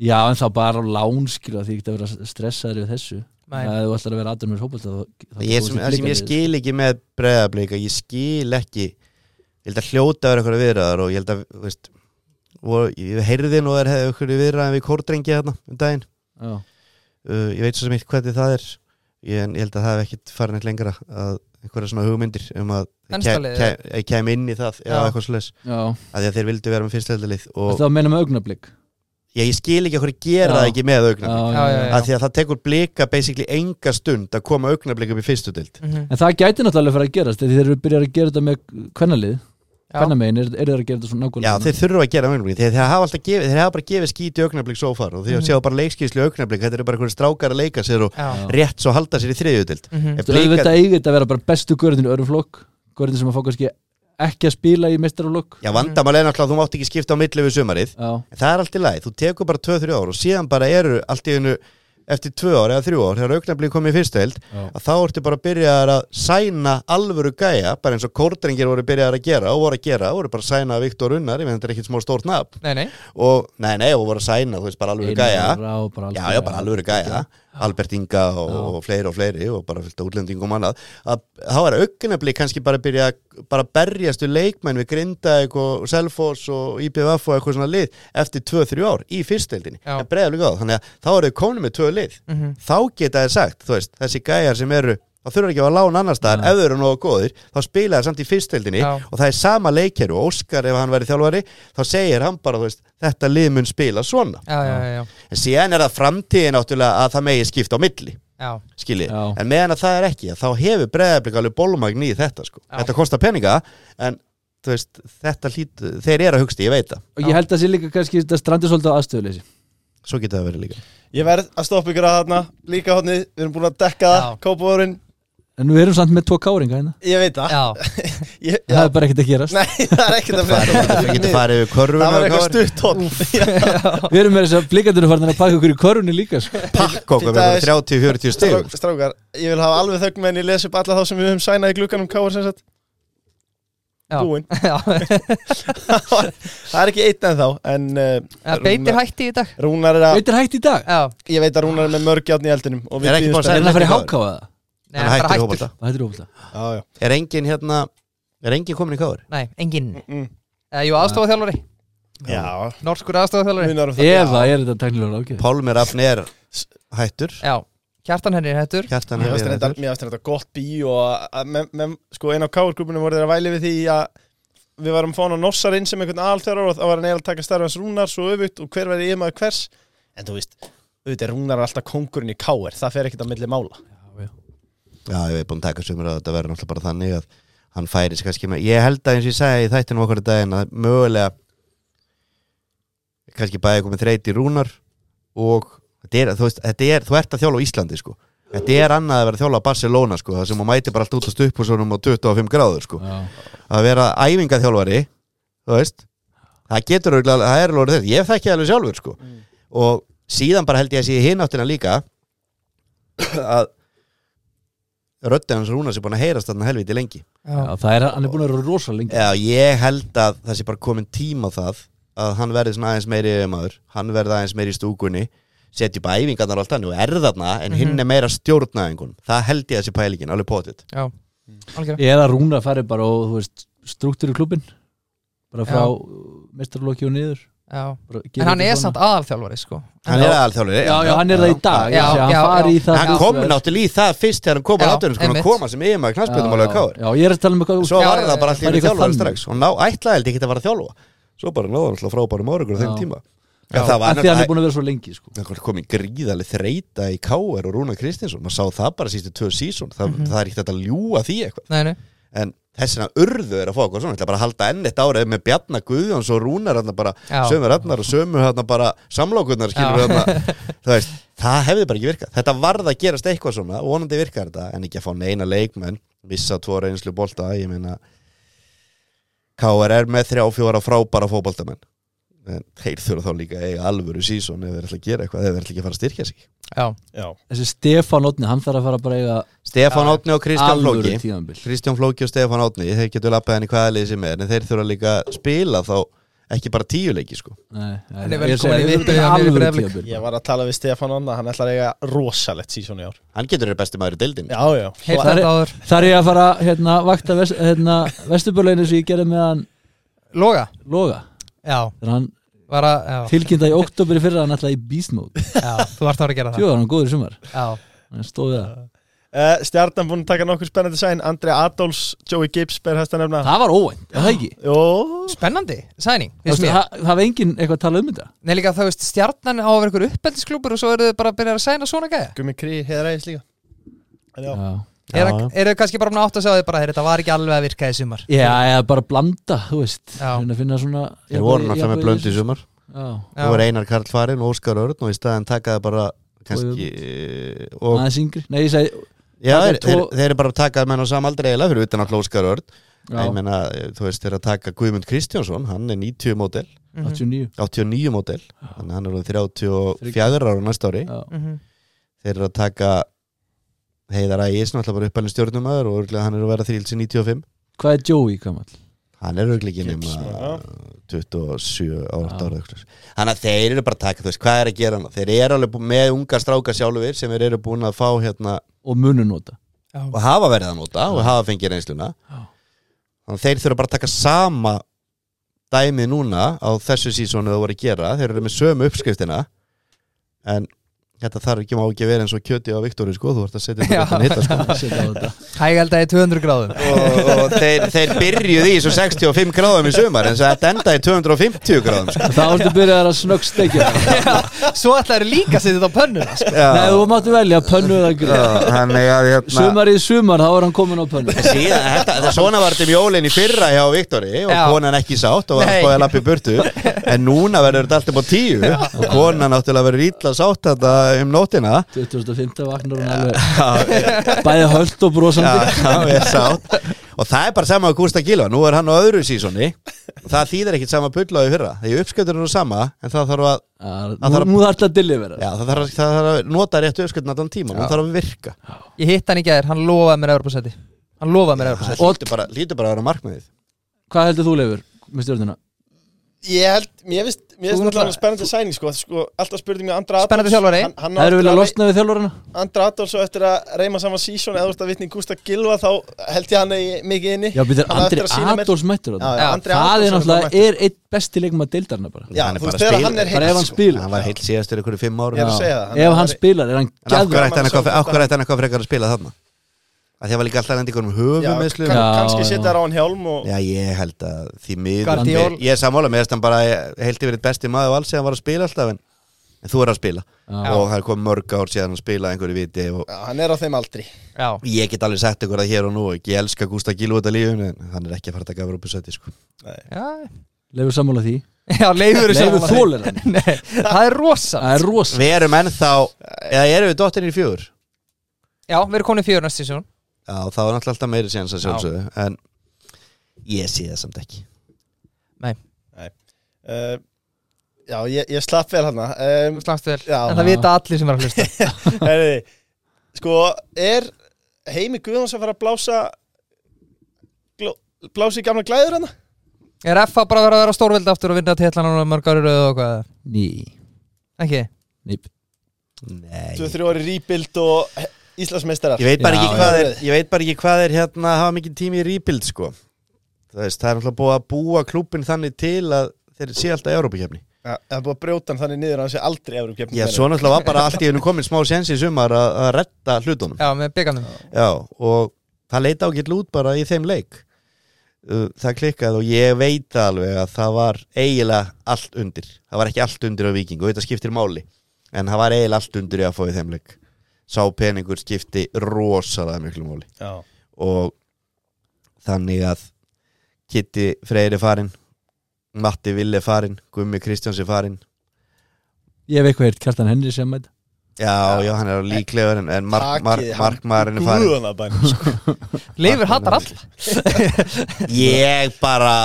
já en þá bara á lán skilja því ég geta verið að stressaður við þessu Nei. að þú ætlar að vera aðdunum með hópulta ég, sem, það sem ég skil ekki með breðablika ég skil ekki ég held að hljóta vera einhverju viðraðar og ég held að, þú veist og ég heyrði nú er hefði einhverju viðraðar við kórdrengi hérna um daginn já, uh, ég veit svo sem eitt hvernig það er ég, en ég held að það hef ekkit farin eitt lengra að einhverja svona hugmyndir um að Enska liðið? ég kem inn í það eða Já. eitthvað svoleiðis já. að því að þeir vildu vera með fyrstveldalið og það meina með augnablik ég, ég skil ekki okkur að gera Já. það ekki með já, augnablik já, já. já. að því að það tekur blika basically enga stund að koma augnablik upp í fyrstu dild Mhm, en það gæti náttúrulega að fara að gerast þegar þeir eru byrjar að gera þetta með kvennalið Já. kvennamegin er, er þeir að gera þetta svona Já, nákvæmlega þeir þurfa að gera augnablik þeir, þeir, hafa alltaf gefið, þeir hafa bara gefið skíti augnablik svo far og þeir mm. Mhm. séu bara leikskýrslu augnablik þetta eru bara einhverjum strákar að leika sér og Já, rétt svo halda sér í þriðju dild mhm, Ef Þú veist blika, þetta eigið þetta að vera bara bestu görðin í öðrum flokk görðin sem að fá kannski ekki að spila í meistaraflokk já vandamál er náttúrulega að þú mátt ekki skipta á milli við sumarið Já, en það er allt í lagi, þú tekur bara 2-3 ár og síðan bara eru allt í einu eftir 2 ár eða 3 ár, þegar augnablik komið í fyrstu dild já, að þá ertu bara að byrja að sæna alvöru gæja, bara eins og kórdrengir voru byrjaðar að gera og voru að gera, voru bara að sæna Viktor Unnar, ég meðan þetta er ekkit smá stórt nafn nei, nei og, nei, nei, og voru að sæna, þú veist, bara alvöru gæja Einar og bara alls já, konar. já, bara alvöru gæja, Albert Inga og, Já. og fleiri og fleiri og bara fylgta útlendingum og annað, að þá er augnablik kannski bara að byrja að bara berjast við leikmenn við Grindavík og Selfoss og IPVF og eitthvað svona lið eftir 2-3 ár í fyrsteldinni, Já. en breiða líka á þannig að þá eru þau komin með 2 lið mhm, þá geta þér sagt, þú veist, þessi gæjar sem eru þá þurfa ekki að vera lán annar staðar Nei. ef þau eru nógu góðir, þá spila þér samt í fyrsteldinni Já. og það er sama leikeru, Óskar ef hann væri þjálfari, þá segir hann bara þú veist, þetta lið mun spila svona Já, já, já, já, en síðan er það framtíðin áttúrulega að það megi skipta á milli, já, skiljið Já. en meðan að það er ekki, þá hefur breðablík alveg bólmagn í þetta sko. Já. þetta kostar peninga, en þú veist, þetta hlýt þeir eru að hugsta, ég veit það, og ég held að sé líka kannski þetta strandi svolítið á aðstöðuleysi svo geta það verið líka Ég verð að stoppa ykkur að þarna Líka hodni, við erum búin að dekka það Já. Kópavörun, en við erum samt með tvo káringa hérna ég veit það Já, ég, já. það er bara ekkert að gerast Nei, það er ekkert að frétta það getur farið yfir körfuna Það var og eitthvað káar. stutt hodn við erum með þess að blikandunum farin að pakka okkur í körunni líka sko. pakk Til okkur með dæmis- 30-40 stig Strákar, ég vil hafa alveg þögn menn Ég les upp alla þá sem við höfum sænað í glugganum Káar sem sagt Já. Búinn já, Það er ekki einn en þá En uh, já beitir hætti í dag Rúnar er að veitir hægt í dag Já, Ég veit að Rúnar er með mörg játn í eldinum og við Er ekki bíðum bara að er spennt. hann að fara Káur. í hákáða nei, Hann hann bara hættir í hættur fótbolta. það hættir óvölda Já, já. er engin hérna er engin komin í káður Nei, engin Mm. Eh, Jú, aðstofaþjálfari, Já, norskur aðstofaþjálfari munar um það ef það er þetta teknilega ágæð Pálmi Rafn er hættur Já, kjartan henni er hættur Kjartan Mér Henry finnst er þetta, hættur mér finnst þetta gott bí og að- að mem, mem, sko einn á káurgrúpunum voru þeir að væli við því að við varum fáin á Nossarinn sem einhvern alþjórar og það var hann eiginlega að taka starfans Rúnar svo öfutt og hver verði yfirmaður hvers en þú veist, auðvitað er Rúnar alltaf kongurinn í káur það fer ekkert að milli mála Já, ég hef búin að taka sömur að þetta verður náttúrulega bara þannig að hann færi sig kannski með ég held að eins og ég sagði í þættinum okkur í daginn að mögulega kannski bæði komið þreyti rúnar og þetta er, þú, veist, þetta er, þú ert að þjóla á Íslandi sko Þetta er annað að vera að þjóla á Barcelona sko það sem hún mæti bara allt út á stuppusunum og 25 gráður sko að vera æfingaþjálfari þú veist það getur auðvitað, það er alveg orðið þetta ég þekki það alveg sjálfur sko Mm. og síðan bara held ég að sé hinn áttina líka að röddinn hans Rúnars er búin að heyrast þarna helviti lengi Já, það er hann er búin að vera rosa lengi Já, ég held að það sé bara komin tíma á það að hann verði svona aðeins meiri maður, hann verði aðeins meiri í stúkunni setja upp æfingarnar og allt hann og er þarna en Mhm. hinn er meira stjórnaðingun það held ég að sé pælingin, alveg potið já Mm. Algjörlega. eða Rúnar fari bara og þú veist struktúr í klubin bara frá Já. mestarlokki og niður Já. Bara En gera hann þetta er svona. samt aðalþjálfari sko. Hann er aðalþjálfari já, já, hann er það í dag já, já, já, já, hann fari já. í það sko. hann hlutverk. kom náttúrulega í það fyrst þegar hann kom Já, að áttunum sko, hann einmitt. kom að sem yfirmaður knastbyrðumálega káður Já, já, ég er að tala um eitthvað svo Já, var já, það bara já. allir Var í eitthvað þjálfari þannig? strax og ná, ætlaði held ég ekki að vera þjálfa svo bara náði hann alltaf frábærum árangur á þeim Já. tíma Já, en það var af því að hann er náttúrulega búin að vera svo lengi sko. það kom í gríðaleg þreita í K.R. og Rúna Kristinsson maður sá það bara sístu tvö sísón Þa, Mhm. það er ekkert hægt að ljúa því eitthvað Nei, nei, en þessina urðu er að fá okkur svona Ég ætla bara að halda enn eitt árið með Bjarna Guðjóns og Rúnar hann bara, Já. sömu rannar og sömu hann bara samlókunar Já. skilur hann það, veist, það hefði bara ekki virkað þetta varð að gerast eitthvað svona, vonandi virkar þetta en ekki að fá neina leikmenn missa tvo reynslu bolta, ég meina KR er með þrjá fjóra frábæra fótboltamenn en þeir þurfa þá líka að eiga alvöru sísón ef þeir ætla að gera eitthvað, ef þeir ætla ekki að fara að styrkja sig já, Já, Þessi Stefán Otni, hann þarf að fara bara að eiga Stefán Átni og Kristján alvöru Flóki tíðanbill Kristján Flóki og Stefán Átni þeir getur lappað henni hvaða liði sem er en þeir þurfa líka að spila þá ekki bara tíu leiki sko Nei, nei, Hann er ég velkominn í segi, við viðbyrði, erum hann er í alvöru Breiðablik. tíðanbill ég var að tala við Stefán Anna hann ætlar að eiga rosalegt sísón í ár Sko. hann getur verið besti maður í deildin Já, já, heilt Það er- þetta áður Þar er ég að fara hérna, vakta vest, hérna, vesturbörleginu sem ég gerði með hann Loga, Loga já, þegar hann var að já, tilkynnta í oktober í fyrra að hann ætlaði í beast mode já, þú varst að vera að gera það Tjóðan hann góður í sumar Já, hann stóð við það uh, Stjarnan búin að taka nokkur spennandi sæn Andri Adolfs, Joey Gibbs ber hæsta nefna Það var óvænt, er það ekki Jó, spennandi, sæning Það finnst mér. það- það var enginn eitthvað að tala um þetta Nei líka þá veist, stjarnan á að vera ykkur uppeldisklúpur og svo eru þau bara að byrja að sæna svona gæja Gumi Krí, Heiðar Ægis líka En já, Já, Eru eru þau kannski bara búin að átta sig á því bara, "Heyrðu, þetta var ekki alveg að virka í sumar já eða bara blanda, þú veist Já. Reyna að finna svona þeir voru náttúrulega með blönd í sumar Já, þú voru Einar Karl Farin og Óskar Örn og í staðin takaði bara kannski eh, og aðeins yngri Nei, ég segi já, taka þeir, þeir, tvo- þeir eru bara að taka menn á samaldri eiginlega fyrir utan alltaf Óskar Örn já, ég meina, eh, þú veist, þeir eru að taka Guðmund Kristjánsson hann er 90 mótel, 89 89 mótel þannig að hann er orðinn 34 ára næsta ári Já. Mhm. þeir eru að taka Heiðar Ægis, náttúrulega bara uppalinn stjórnumæður og örugglega hann er að vera þrýlsi 95 Hvað er Joey gamall? hann er örugglega ekki Gibbs, nema já. 27 ára Já. ára þannig að þeir eru bara að taka, þú veist, hvað er að gera hann þeir eru alveg bú- með unga stráka sjálfur sem þeir eru búin að fá hérna Og munu nota Já. og hafa verið að nota og hafa fengið reynsluna Já. þannig að þeir þurfa bara að taka sama dæmið núna á þessu sísónu það voru að gera, þeir eru með sömu uppskriftina en þetta þarf ekki má ekki að vera eins og kjöti á Viktori sko, þú ert að setja Já. þetta hitta sko. Setja á þetta. Hægaldaði 200 gráðum og, og þeir, þeir byrjuð í svo 65 gráðum í sumar en svo þetta endaði í 250 gráðum sko. Þá ertu byrjaðar að snöggsteikja það. Svo ætlaður líka að setja þetta á pönnuna sko. Nei, Já, þú máttu velja pönnu eða já, gráð þannig að hérna Sumar í sumar, þá er hann komin á pönnu Síðan, þetta, þetta, svona var þetta um jólinn í fyrra hjá Viktori og Já. konan ekki sátt og var Nei. búið að lappi burtu en núna verður þetta allt upp á tíu og konan náttúrulega verður ítla sátt þetta um nótina 2005 vaknar hún alveg Bæði höllt og brosandi Já, já, sátt og það er bara sama að Gústa Gilva, nú er hann á öðru sísoni og það þýðir ekkit sama bulláði fyrra þegar uppskjötur eru sama en það þarf að, Já, Það þarf að- Nú þarf þetta að delivera já, það þarf að, það þarf að nota réttu uppskjötun allan tíma, Já. hún þarf að virka Ég hitt hann í gæðir, hann lofaði mér Evropasæti Hann lofaði mér Evropasæti það lítur bara, lítur bara að vera markmiðið Hvað heldur þú lefur með stjórnuna? Ég held, mér finnst, mér Þú finnst náttúrulega- alltaf spennandi sæning sko, sko Alltaf spurði mér Andra Spennandi Adolfs, þjálfari. hann- hann á Það eru eftir vilja að- að losna við þjálfurina? Andra Adolfs og eftir að reyma saman sísón eða þú ert að vitni Gústa Gilva þá held ég hann eigi mikið inni Já, býtur Hann á eftir Andri að sýna mér- Adolfs mættur Já, þarna já, Já, Andri Það Adolfs er hann náttúrulega, mættur. er eitt besti leikma deildarna bara Já, Hann þú er bara veist þegar spil- hann er Bara ef heill hann sko. spilar hann var heilt síðast fyrir ykkur fimm ára Ég er að segja það, hann Ef er- hann spilar, er hann En af hverju gæður gæðveikur. ætti hann eitthvað- af hverju ætti hann eitthvað frekar að spila þarna? Af því að það var líka alltaf að lenda ykkur um Já, höfum kann- Já. Já, kannski já. setja þær á hann hjálm og Já, ég held að því miður Guardiol. Ég- Ég er sammála með þess að hann bara heilt yfir eitt besti maður og alls eða hann var að spila alltaf en, en þú er að spila og það er komið mörg ár síðan að spila einhverju viti og Já, hann er á þeim aldri Já, ég get alveg sett ykkur það hér og nú og ég elska Gústa Gílu út af lífinu en hann er ekki að fara að taka Evrópu sæti sko. já, Leifur sammála því já leifur er Leifur sammála því. þólir hann Nei, það er rosa Það er rosa Við erum ennþá, eða erum við dottinir í fjögur? Já, við erum komin í fjör næst sísón Já, þá er náttúrulega alltaf meiri síðan sem sjálfsögðu en ég sé það samt ekki Eh, uh, Já, ég, ég slapp vel hann um, Slagstu vel, Já. en það vita allir sem er að hlusta Herri, sko, er Heimi Guðjóns að fara að blása gló, blása í gamla glæður hann? Er FA bara að vera að vera stórveldi aftur og vinna titlan og mörg ári rauð og hvað Ný, Ekki, nýp Nei 23 ári rýbild og he- Íslandsmeistarar Ég veit bara Já, ekki já. hvað er, ég veit bara ekki hvað er hérna að hafa mikið tími í rebuild sko. Það, veist, það er náttúrulega búið að búa klúbin þannig til að þeir sé alltaf Európa-kefni. Já, Það er búið að brjóta hann þannig niður að hann sé aldrei efru kemni Já, svo náttúrulega var bara allt í hennu komin smá sensi í sumar að, að retta hlutunum. já, með byggarnum Já, og það leita ágætt út bara í þeim leik. Uh, Það klikkaði og ég veit alveg að það var eiginlega allt undir. Það var ekki allt undir á viking og þetta skiptir máli. En það var eiginlega allt undir í að fá í þeim leik. Sá peningur skipti rosalega miklu máli. Já, og þannig að Kitty Freyr er farin Matti Ville er farin, Gummi Kristjáns er farin Ég hef eitthvað heilt Kjartan Henry sem mæta já, já, hann er á líklegur en, en Takið mark, mark, hann markmaðurinn er farin Guðjóna bænum sko. Leifur hattar all ég bara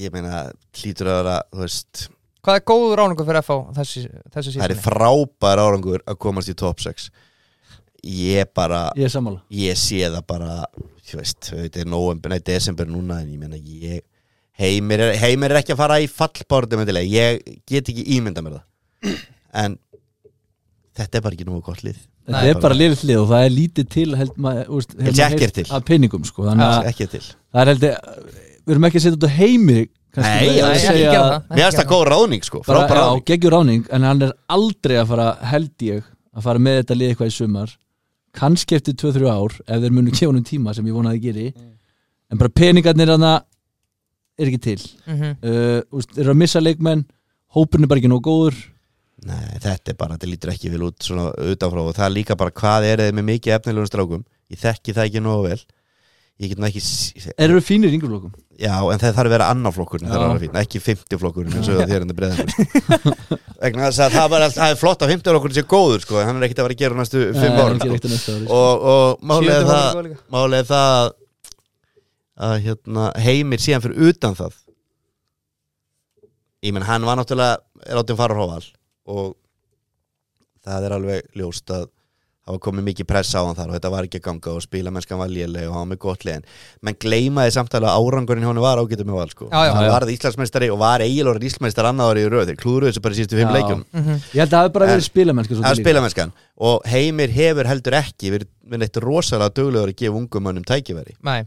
ég meina hlýtur að vera, þú veist Hvað er góð ráningu fyrir FA þessu, þessu það er sísoni? frábær árangur að komast í top 6 ég bara Ég er sammála ég sé það bara þú veist, þetta er november, nei, desember núna en ég meina, ég heimir er, heimir er ekki að fara í fallbárðum ég get ekki ímynda mér það en þetta er bara ekki nógu gott lið Þetta er bara liðið lið og það er lítið til held maður, úst, Ég sé ekkert til. að peningum sko, þannig Það að er ekki til það er held ég, við erum ekki að setja út á heimi kannski Nei, með ég að ekki segja mér finnst það góð ráðning sko, bara, frábær já, ráðning geggjur ráning, en hann er aldrei að fara held ég, að fara með þetta lið eitthvað í sumar kannski eftir 2-3 ár ef þeir munu kefunum tíma sem ég vonaði geri Mm. en bara peningarnir hann er ekki til góð uh, úst, eru að missa leikmenn hópurinn er bara ekki nóg góður nei, þetta er bara, þetta lítur ekki vel út svona utanfrá og það er líka bara hvað er þið með mikið efnilegum strákum, ég þekki það ekki nógu vel ég get nú ekki s- eru við fínir í yngri flokkum Já, en það þarf að vera annar flokkur Já. ekki 50 flokkur eins og þér endur breyðan vegna þess að það, var, allt- það er flott að 50 flokkur sé góður sko, en hann er ekkert að vera að gera á næstu 5 árum Eh, ekki sko. reykt að næsta ári sko. og, og málið er Sjöundi það flokkur líka. málið er það að- að hérna, heimir síðan fyrir utan það ég menn hann var náttúrulega er áttum fara á hóval og það er alveg ljóst að það var komið mikið press á hann þar og þetta var ekki að ganga og spila mennskan var léleg og hann var með gott liðin menn gleymaði samtala að árangurinn hjá hann var ágætið með val sko Já, já, hann já. varð Íslandsmeistari og var eiginlega Íslandsmeistar annað árið í röð þeir klúruðu þessu bara í sístu fimm Já. leikjum Mhm. sko. ég held að það hafi bara verið spilamennsku Það er svolítið líka. spilamennskan og Heimir hefur heldur ekki verið verið neitt rosalega duglegur að gefa ungum mönnum tækifæri Nei,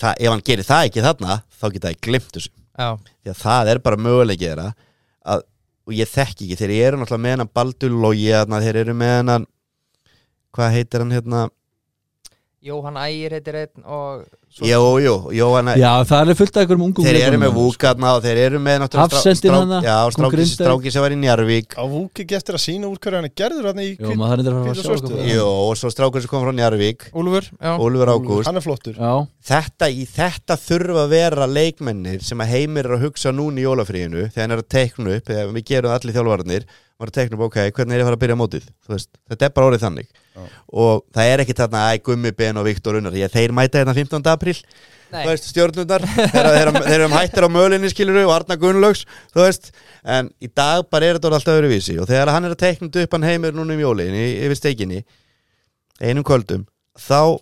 það, ef hann gerir það ekki þarna þá geta það glimt þessu já því að það er bara möguleikið þeirra að og ég þekki ekki, þeir eru náttúrulega með hennan Baldur Lógi, þarna, þeir eru með hennan hvað heitir hann hérna Jóhann Ægir heitir einn og svo- Jó, jó, jó, hann Já, það er alveg fullt af einhverjum ungum þeir eru leikmönnum með þarna, Vúka þarna og þeir eru með náttúrulega strá- Hafsendin strák- þarna, Já, hún stráki, Grindavík. stráki sem var í Njarvík Á vúki eftir að sína úr hverju hann er gerður hann í sko. Jó, maður þarf endur að fara Hvítu að sjá svörtu. okkur Jó, og svo strákur sem kom frá Njarvík Úlfur já. Úlfur Ágúst Hann er flottur Já, þetta, í þetta þurfa að vera leikmennir sem að heimir er að hugsa núna í jólafríinu þegar hann er að teikna upp, þegar við gerum það allir þjálfarnir maður er að teikna upp, ok, hvernig er ég að fara að byrja mótið Þú veist, þetta er bara orðið þannig Já. og það er ekki þarna, æ, Gummi Ben og Viktor Unnar ég, þeir mæta hérna 15. april Nei. þú veist, stjórnundar þeir, þeir, þeir eru um hættir á mölinni skiluru og Arna Gunnlaugs, þú veist en í dag bara er þetta orðið alltaf öðruvísi og þegar hann er að teikna upp hann heimir núna um jólin í- yfir steikinni, einum kvöldum þá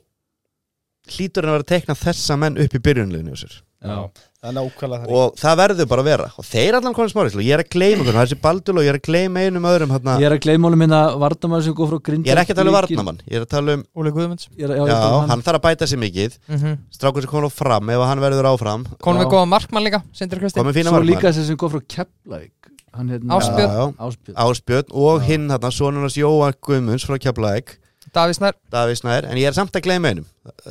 hlýtur hann að vera að teikna þessa menn upp í byrjunleginu sér já Það er nákvæmlega þannig og það verður bara að vera og þeir allan konum smári og ég er að gleyma hvernig, þessi baldur og ég er að gleyma einum öðrum hérna, Ég er að gleyma honum minna Vardamann sem góð frá Grindavík ég er ekki að tala um varnamann ég er að tala um, Úli Guðmunds Ég er- Já, já, já, hann hann þarf að bæta sér mikið mm strákur sem komur á fram, ef hann verður áfram Konum Já. við góða markmann líka Sindri Kristi komið fína Svo líka varnamann þessi sem góð frá Keflavík Hann hérna Ásbjörn. Já, já. Áspjörn Ásbjörn og hinn hérna, sonunars Jóa Guðmunds frá Keflæk, Davís Nær Davís Nær en ég er samt að gleyma einum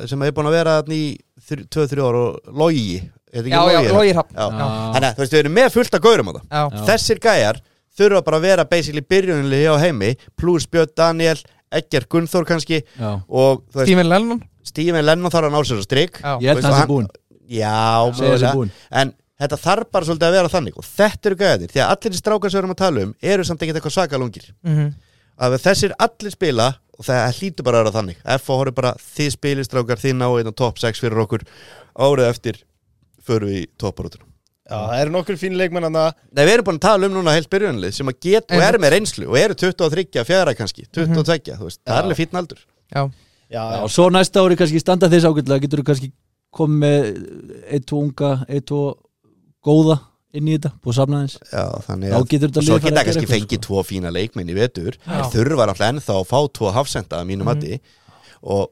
sem er búin að vera þarna í 2-3 ára og logi, er þetta Já, ekki já, logi? Lógir Hafn Já. Já. Þannig að þú veist, við erum með fullt að gaurum á það Já, Já. þessir gæjar þurfa bara að vera basically byrjunli hjá heimi pluss Björn Daniel, Egger Gunnþór kannski Já og þú veist, Tíminn Lennon Steven Lennon þarf að ná sér á strik Já, Ég held að Og hann sé hann- búinn já, Segja sér mögulega. búinn en þetta þarf bara svolítið að vera þannig og þetta eru gæjarnir, því að allir þessi strákar sem við erum að tala um eru samt ekkert eitthvað svakalungir Mhm. að ef þessir allir spila og það hlýtur bara að vera þannig F.O. horfir bara, þið spilir strákar, þið ná einn á top 6 fyrir okkur árið eftir förum við í topparótuna Já, það eru nokkur fín leikmenn hann að Nei, við erum búin að tala um núna heilt byrjunlið sem að geta og Einmitt. eru með reynslu og eru 23, 4 kannski, 22, þú veist, það er Já. alveg fínn aldur. Já, Já, Já, já, og svo næsta ári kannski standa þess ágætlega getur þú kannski komið með eitt, tvo unga, eitt, tvo góða inn í þetta, búið að samna þess Já, þannig Þá að getur þetta svo lið farið geta að gera kannski eitthvað, fengið sko. tvo fína leikminn í vetur, Já. en þurfa alltaf ennþá að fá tvo hafsenda að mínum mati og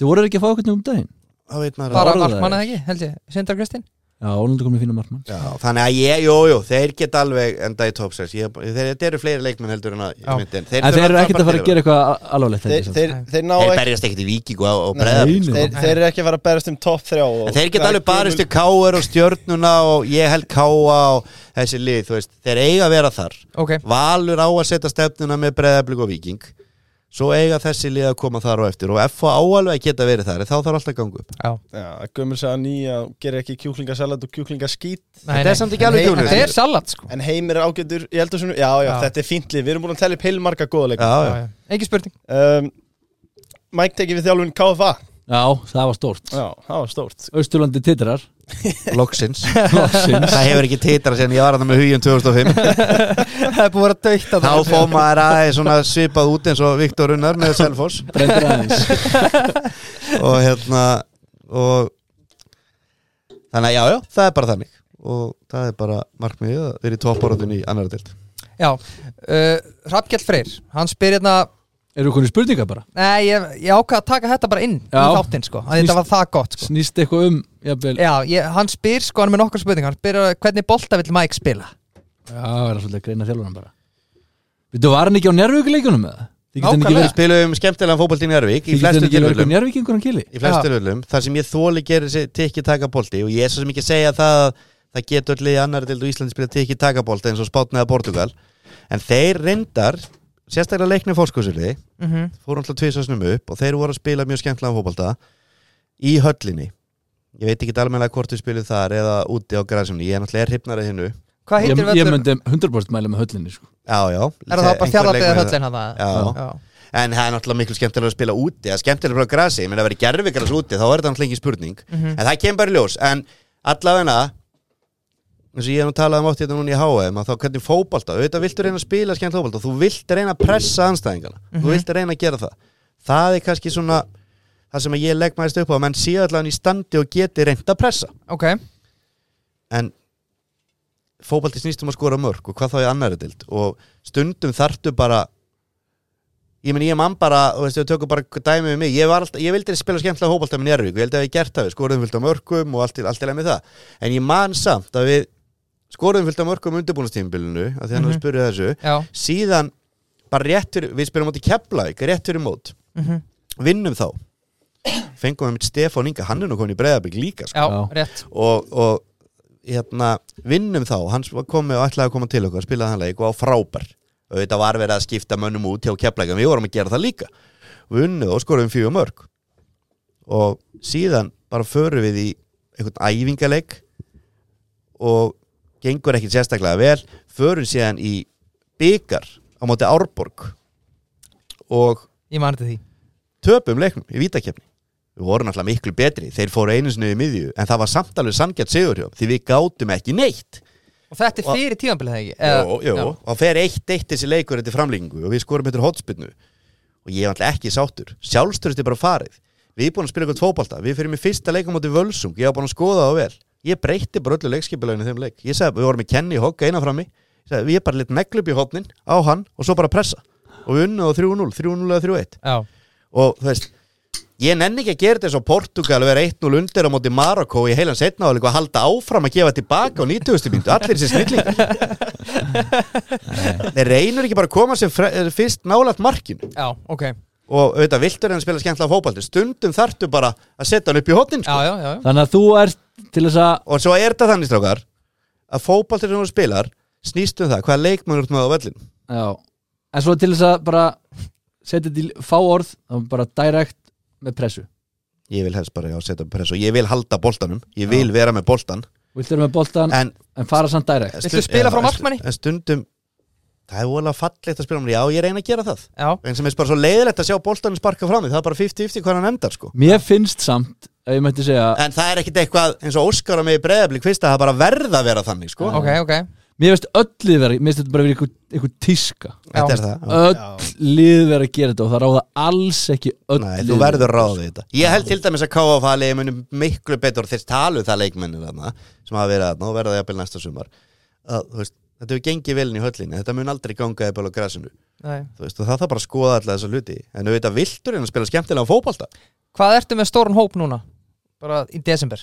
Þið voru ekki að fá eitthvað um daginn þá veit maður bara orðaður. markmann eða ekki, held ég Sindri Kristi Já, Ólundur komið fína markmann Já, þannig að ég, jú, jú, þeir geta alveg enda í top 6, ég, þeir, þeir eru fleiri leikminn heldur en að ég Já. myndi en En þeir eru ekkert að fara að gera eitthvað al- alvarlegt held ég þeir, samt. þeir, þeir ná Þeir ekki berjast ekkert í viking og, og Nei, breðar nei. þeir, þeir eru ekki að fara að berast um topp þrjá og- En þeir geta Það er alveg barist um- gömul- í káur og stjörnuna og ég held káa og þessi lið, þú veist, þeir eiga að vera þar Ok, Valur á að setja stefnuna með breðablík og viking Svo eiga þessi lið að koma þar og eftir og F á alveg að geta verið þar en þá þarf alltaf að ganga upp já Já, gömur sagði nýja og gerir ekki kjúklingasalat og kjúklingaskít Nei, Þetta nei. er samt ekki alveg Nei, kjúklingur. Þetta er salat sko En heimir er ágætur, ég held að svona Já, já, Já. þetta er fíntlið, við erum búin að tella upp heilmarga góða leik Já, já, Já, já. Ekki spurning um, Mike tekið við þjálfun KFA Já, það var stórt Já, það var stórt Austurlandi titrar loksins loksins. Það hefur ekki titra sem ég var að það með hugin 2005 Það er búið að vera dögt að Þá fór maður aðeins svona svipað út eins og Viktor Unnar með Selfoss Brendur aðeins og hérna og þannig að já, já, það er bara þannig og það er bara markmiðið að vera í topparótin í annara dild Já, uh, Hrafnkjell Freyr Hann spyr hérna Eru konið spurningar bara? Nei, ég, ég ákvað að taka þetta bara inn Já. í þáttinn sko að Þetta Snýst- var það gott sko Snýst eitthvað um, jafnvel Já, Já, ég, hann spyr sko, hann er með nokkur spurning Hann spyr uh, hvernig bolta vill Mike spila það er svolítið að greina þjálfurinn bara Vittu, var hann ekki á njárvíkuleikunum með það? Þið getum ekki Nákvæmlega. Við verið spilum skemmtilegan fótbolt í Njárvík í Þið getum flestu ekki verið eitthvað tilvöldum njárvíkingur hann kili í flestu tilvöldum þar sem ég þóli gerir þessi tikki taka bolti og ég er svo sem ekki að segja það að það getur öll í annara dild og Íslandi spila tikki taka bolti eins og spátnaða Portugal en þeir reyndar sérstaklega leikni fórskúsili mm -hmm. fórum alltaf tvisasnum upp og þeir voru að spila mjög skemmtilega fótbolta í höllinni ég veit ekki almenlega hvort við spilum þar eða úti á græsumni, ég er náttúrulega er hrypnari hinnu Hvað Ég, heitir ég völlur? myndi 100% mæla með höllinni sko. já, já Er það bara Einhver fjarlabíða leikmaður- höllin hann það? já. en það er náttúrulega miklu skemmtilega að spila úti að skemmtilega að græsi, ég meina að vera gerfi græs úti þá er þetta náttúrulega ekki spurning Mhm. en það kemur bara í ljós, en allavegna eins og ég hef nú talað um átt þetta núna í HM að þá hvernig fótbalta, auðvitað viltu reyna að spila skemmt fótbalta, þú vilt reyna að pressa anstæðingana, þú vilt reyna að gera það það er kannski svona það sem ég legg mæðist upp á, að menn sé allavega í standi og geti reynd að pressa Ok, en fótbalti snýst um að skora mörg og hvað þá í annari dild og stundum þartu bara ég meni ég mann bara, þú veist, við tökum bara dæmi við mig, ég, var alltaf, ég vildi spila skemmtilega hópalta með Njárvík, ég held að við gert það, við skorum fullt á mörgum og allt til, allt til að með það en ég man samt að við skoruðum fylgta mörgum undirbúinastímbilinu að því hann mm Mhm. -hmm. spurði þessu já síðan bara rétt fyrir, við spyrum á móti Keflæk rétt fyrir mót, mm vinnum þá fengum við mitt Stefán Inga hann er nú komin í Breiðabík líka sko. Já, Já. rétt og, og hérna, vinnum þá hann komi og ætlaði að koma til okkar, spilaði hann leik og á frábær auðvitað var verið að skipta mönnum út hjá Keflæk en við vorum að gera það líka við unnum og skorum fjögur mörg og síðan bara förum við í einhvern æfingaleik og gengur ekkit sérstaklega vel förum síðan í byggar á móti Árborg og Ég mani til því töpum leiknum í vítakefni við vorum alltaf miklu betri, þeir fóru einu sinni í miðju en það var samt alveg sangjart sigur hjá þeim, því við gátum ekki neitt Og þetta er Og- fyrir tímanbilið það ekki Eða- jó, jó, já. og það fer eitt eitt þessi leikur eftir framlíkingu og við skorum eftir hotspinnu og ég er alltaf ekki sáttur sjálfstörust er bara farið, við erum búin að spila eitthvað tfóbalta, við fyrir mér fyrsta leikum átti völsung, ég var búin að skoða það vel ég breytti bara öllu leikskipilaginu þeim leik ég sagði, við vorum í Kenny Hogg eina frammi ég sagði, við bara litt neglu upp í hotnin á hann og svo bara pressa og við unnum á 3-0, 3-0 eða 3-1 Já, og þú veist ég nenni ekki að gera þetta svo Portugal vera 1-0 undir á móti Marokko í heilan setna og að halda áfram að gefa tilbaka á 90. myndu allir þessi snillingar þeir reynur ekki bara að koma sér fre- eh, fyrst nálægt markinu já, ok Já, og auðvitað viltur en að spila skemmtilega fótbalti stundum þarftu bara að setja hann upp í hotnin sko. já, já, já. Þannig að þú ert til þess að og svo er þetta þannig strákar að fótbalti sem þú spilar snýst um það hvaða leikmann út með á völlin Já, en svo til þess að bara setja þetta í fá orð þá bara direkt með pressu ég vil helst bara já, setja press og ég vil halda boltanum ég vil vera með boltan Viltu vera með boltan en, en fara samt direkt En Viltu stund- spila já, frá en stu- markmanni? En stundum, það er vola fallegt að spila um Já, ég reyna að gera það Já, En sem er bara svo leiðilegt að sjá boltanum sparka fram í Það er bara 50-50 hvað hann endar sko Mér finnst samt, ef ég mætti segja En það er ekkit eitthvað eins og Óskara með í breyðablik Fyrst að það bara verða að vera þannig sko ok, ok Mér finnst öll lið vera, mér finnst þetta bara verið einhver, einhver tíska Þetta er það já. Öll lið vera að gera þetta og það ráða alls ekki öll Nei, lið þú verður ráðið þetta Ég held til dæmis að KFA leiði munum miklu betur Þeir talu það leikmennir þarna Sem hafa verið þarna og verða jafnvel næsta sumar að, þú veist, Þetta hefur gengið velin í höllinni Þetta mun aldrei ganga eða á græsinu Nei. Þú veist, og það þarf bara að skoða alltaf þessa hluti En auðvitað viltur en að spila skemmtilega fótbalta Hvað ertu með stóran hóp núna? Bara í desember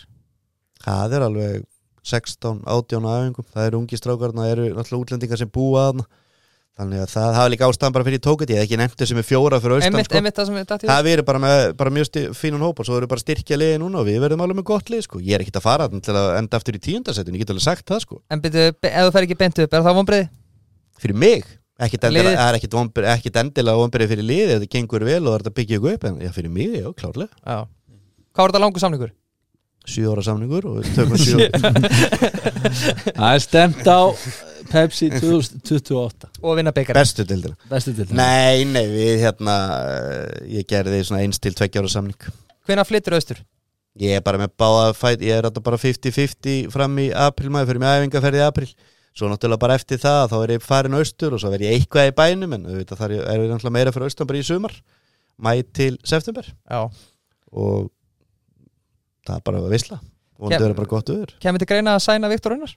Það er alveg 16, 18 aðingum Það eru ungi strákarna, það eru náttúrulega útlendingar sem búa þarna Þannig að það hafa líka ástæðan bara fyrir tókut Ég hef ekki nefnt þessi með fjóra fyrir austan Einmitt, sko. einmitt það sem við dætti Það við erum bara með bara mjög sti- fínan hóp og svo erum við bara styrkja liði núna og við verðum alveg með gott lið sko. Ég er ekkit að fara þarna til að enda aftur í tíundasettun Ég get alveg sagt það sko. En byrju, be- ef þú fer ekki beint upp, er það vonbreiði? Fyrir mig, ekkit endilega, Liðið. það er ekkit, vonbyr, ekkit endilega vonbyrði fyrir liði Þetta gengur vel og það er að byggja ykkur upp En já, fyrir mig, já, klárlega Já Hvað var þetta langur samlingur? Sjö ára samningur og við tökum sjö Það er stemt á eh, Pepsi 2028 Og vinna byggar bestu dildina Bestu til Nei, nei, við hérna eh, Ég gerði svona eins til tveggja ára samning Hvenær flyttur austur? Ég er bara með báða fæt Ég er þetta bara 50-50 fram í april maður fyrir mig æfingaferð í april Svo náttúrulega bara eftir það Þá er ég farin austur og svo verð ég eitthvað í bænum En auðvitað þar er ég náttúrulega meira fyrir austan bara í sumar Mæ til september Já Og það er bara að visla Og það Kem- verður bara gott öður Kemur til greina að sæna Viktor Unnar?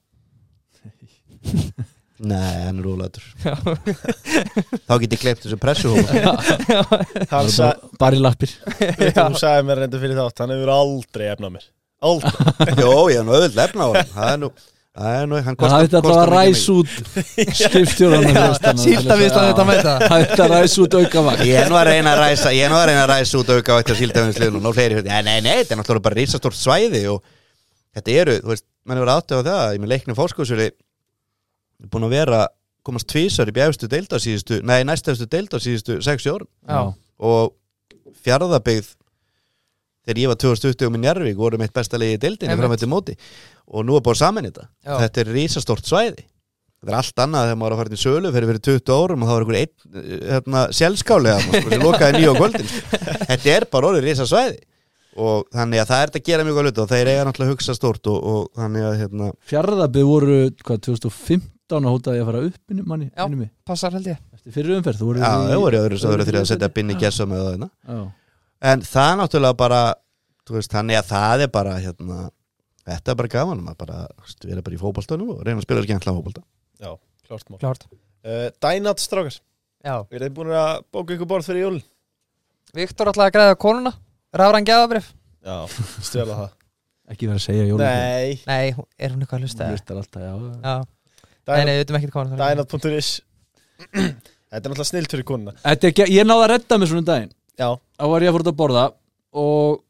Nei, hann er rólaður Já. Þá get ég glemt þessu pressuhóma Hann sa- Bara í lappir Þú sagði mér reynda fyrir þátt, hann hefur aldrei efnað mér Aldrei Jó, ég er nú auðvitað lefna á hann Það er nú, það er nú, hann Það kostar hefði alltaf að kostar mikið ræs út skipstjóran síldarvinnslan þetta með það. Það hefði að ræs út aukavakt Ég er nú að reyna að ræsa Ég er nú að reyna að ræsa út auka á eftir síldafinsliðun og nú fleiri hluti, nei, nei, nei, þetta er náttúrulega bara risastórt svæði og þetta eru, þú veist mann hefur áttið á það, ég með leiknum fórskóðsvöli búin að vera komast tvísar í bjæfstu deilda síðustu nei, næstæfstu deilda síðustu 60 árum Já og fjárðabyggð þegar ég var 2020 og minn Jarvík voru mitt besta liði í deildinni Einmitt. fram eftir móti og nú er búin saman þetta Já. þetta er risastórt svæði þetta er allt annað þegar maður er að fara til sölu fyrir fyrir 20 árum og þá er einhver einn eh, hérna, sjálfskálega sko, sem lokaði nýja á kvöldin sko. þetta er bara orðið risasvæði og þannig að það er þetta að gera mjög að luta og þeir eiga náttúrulega að hugsa stórt og, og þannig að hérna, Fjarðabið voru, hvað, 2015 að hótaði ég að fara upp innum manni Já. innum mig Passar held ég Eftir fyrir umferð, þú voru já, það voru öðru, öðru þrjá að þriðja setja binni gessa með það hérna. Já. en það er náttúrulega bara þú veist, þannig að það er bara hérna, þetta er bara gaman maður bara, þú veist, við erum bara í fótboltanum og reyna að spila skemmtilega fótbolta Já, klart mál Klárt uh, Dænat strákar, Já er þið búin að bóka ykkur borð fyrir jól? Viktor ætlaði að græða konuna Rafran gæðabrif Já, stjála það Ekki vera að segja Jón Nei, Nei, hún- er hún eitthvað að hlusta? Hún hlustar alltaf, já Já, nei, nei, Dynat- við veitum ekkert hvað hún er að Dynat.is Þetta er náttúrulega snilt fyrir konuna Þetta er ekki, ég náði að redda mig svona um daginn Já, Þá var ég að fór út að borða og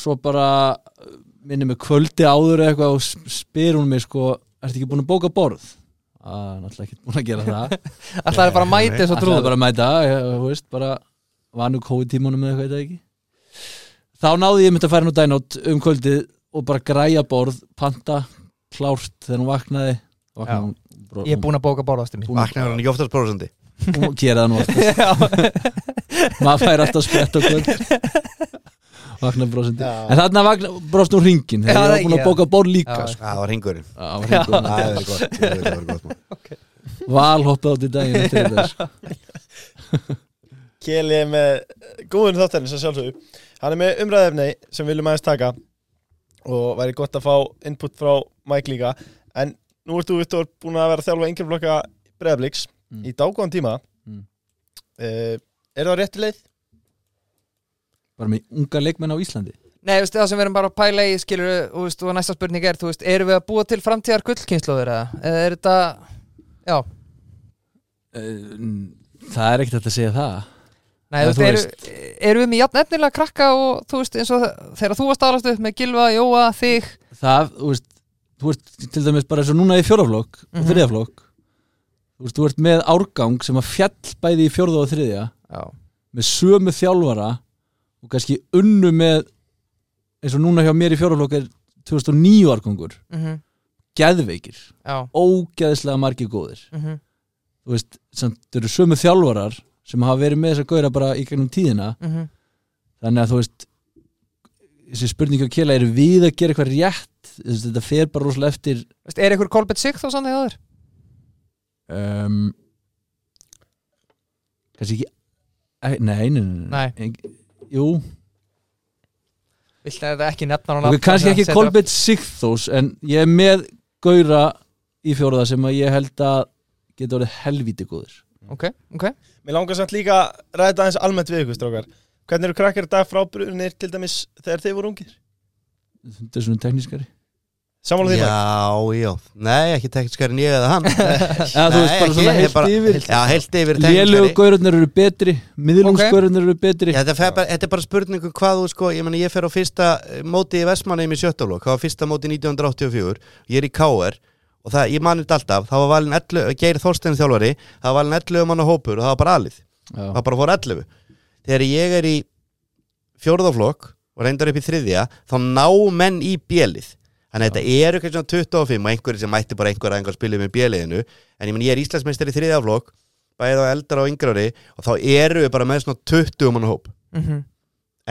svo bara uh, minni mig kvöldi áður eða eitthvað og s- spyr hún mig sko Ertu ekki búin að bóka borð? Það er náttúrulega ekki búin að gera það Alltaf er bara að mæti þessu Ætlaði trúður bara að mæta, ég, þú veist, bara vanu kói tímunum eða eitthvað ég veit það ekki Þá náði ég myndi að færa nú dænátt um kvöldið og bara græja borð, panta, klárt þegar hún vaknaði, Já. vaknaði hún, Ég er búin að bóka borðastu mín Búin- Vaknaður hann ekki oftast prósandi hún, hún gera það nú oft Já, maður fær alltaf sprett á kvöld vaknaði brosandi Já. en þarna vakna, brost nú ringin Já, það þegar ég var búin ekki, að bóka borð líka Já. sko. Það var hringurinn Já, var hringurinn. Það er gott, það er gott maður. val hoppað átt í daginn eftir þetta sko. Keli er með eh, góðun þáttarins að sjálfsögðu Hann er með umræðefni sem við viljum aðeins taka og væri gott að fá input frá Mike líka en nú ert þú Viktor búin að vera að þjálfa yngri blokka breðabliks Mm. í dágóðan tíma mm. Mm. Er það rétti leið? bara með unga leikmenn á Íslandi Nei, veistu, það sem við erum bara að pæla í skilur og, veist, og næsta spurning er, þú veist, erum við að búa til framtíðar gullkynnslóður eða Eða er þetta, já Eh, það er ekkert hægt að segja það Nei, Já, þú veist, þú eru, erum við með jafn efnilega krakka og þú veist, eins og þegar þú varst aðalast upp með Gilva, Jóa, þig það, þú veist, þú ert til dæmis bara eins og núna í fjóraflokk og Mhm. þriðaflokk þú veist, þú ert með árgang sem að fjall bæði í fjórða og þriðja Já, með sömu þjálfara og kannski unnu með eins og núna hjá mér í fjóraflokk er 2009 árgangur, geðveikir Mhm, já, ógeðslega margir góðir mm -hmm. þú veist, samt, þau eru sömu þjálfarar sem hafa verið með þess að gauðra bara í gegnum tíðina mhm. þannig að þú veist þessi spurningi á kela, eru við að gera eitthvað rétt Þú veist, þetta fer bara rosalega eftir Veist, er ykkur Kolbett Sigþór sannig á þér? um, kannski ekki e- nei, nei, nei, Nei. Eng- jú, Vilt það ekki nefna hann ok, kannski ekki Kolbett Sigþós en ég er með Gaura í fjóraða sem að ég held að geta orðið helvíti góðir Ok, ok Mér langar samt líka að ræða aðeins almennt við ykkur strákar Hvernig eru krakkar í dag frábrunir til dæmis þegar þeir voru ungir? þetta er svona teknískari Samála því Mike? Já, já Nei, ekki tekniskari en ég eða hann eða þú veist Nei, bara ekki, svona ég er heilt bara- yfir Já, heilt yfir lélugu tekniskari gaurarnir eru betri miðlungsgaurarnir eru betri Já, þetta, fer bara, þetta er bara spurningum hvað þú sko, ég meni ég fer á fyrsta eh, móti í Vestmannheim í sjöttaflokk, það var fyrsta móti 1984, ég er í KR og það, ég mani þetta alltaf, það var valin 11, Geir Þorstein þjálfari, það var valin 11 manna hópur og það var bara alið, Já. það bara fór 11. Þegar ég er í fjórðaflokk og reyndar upp í þriðja, þá ná menn í bjelið. Þannig að þetta eru kannski svona 25 og einhverjir sem mætti bara einhver að einhver spilið með bjeliðinu, en ég meni ég er Íslandsmeistar í þriðjaflokk, bæðið á eldar og yngra ári og þá eru við bara með svona 20 manna hóp mm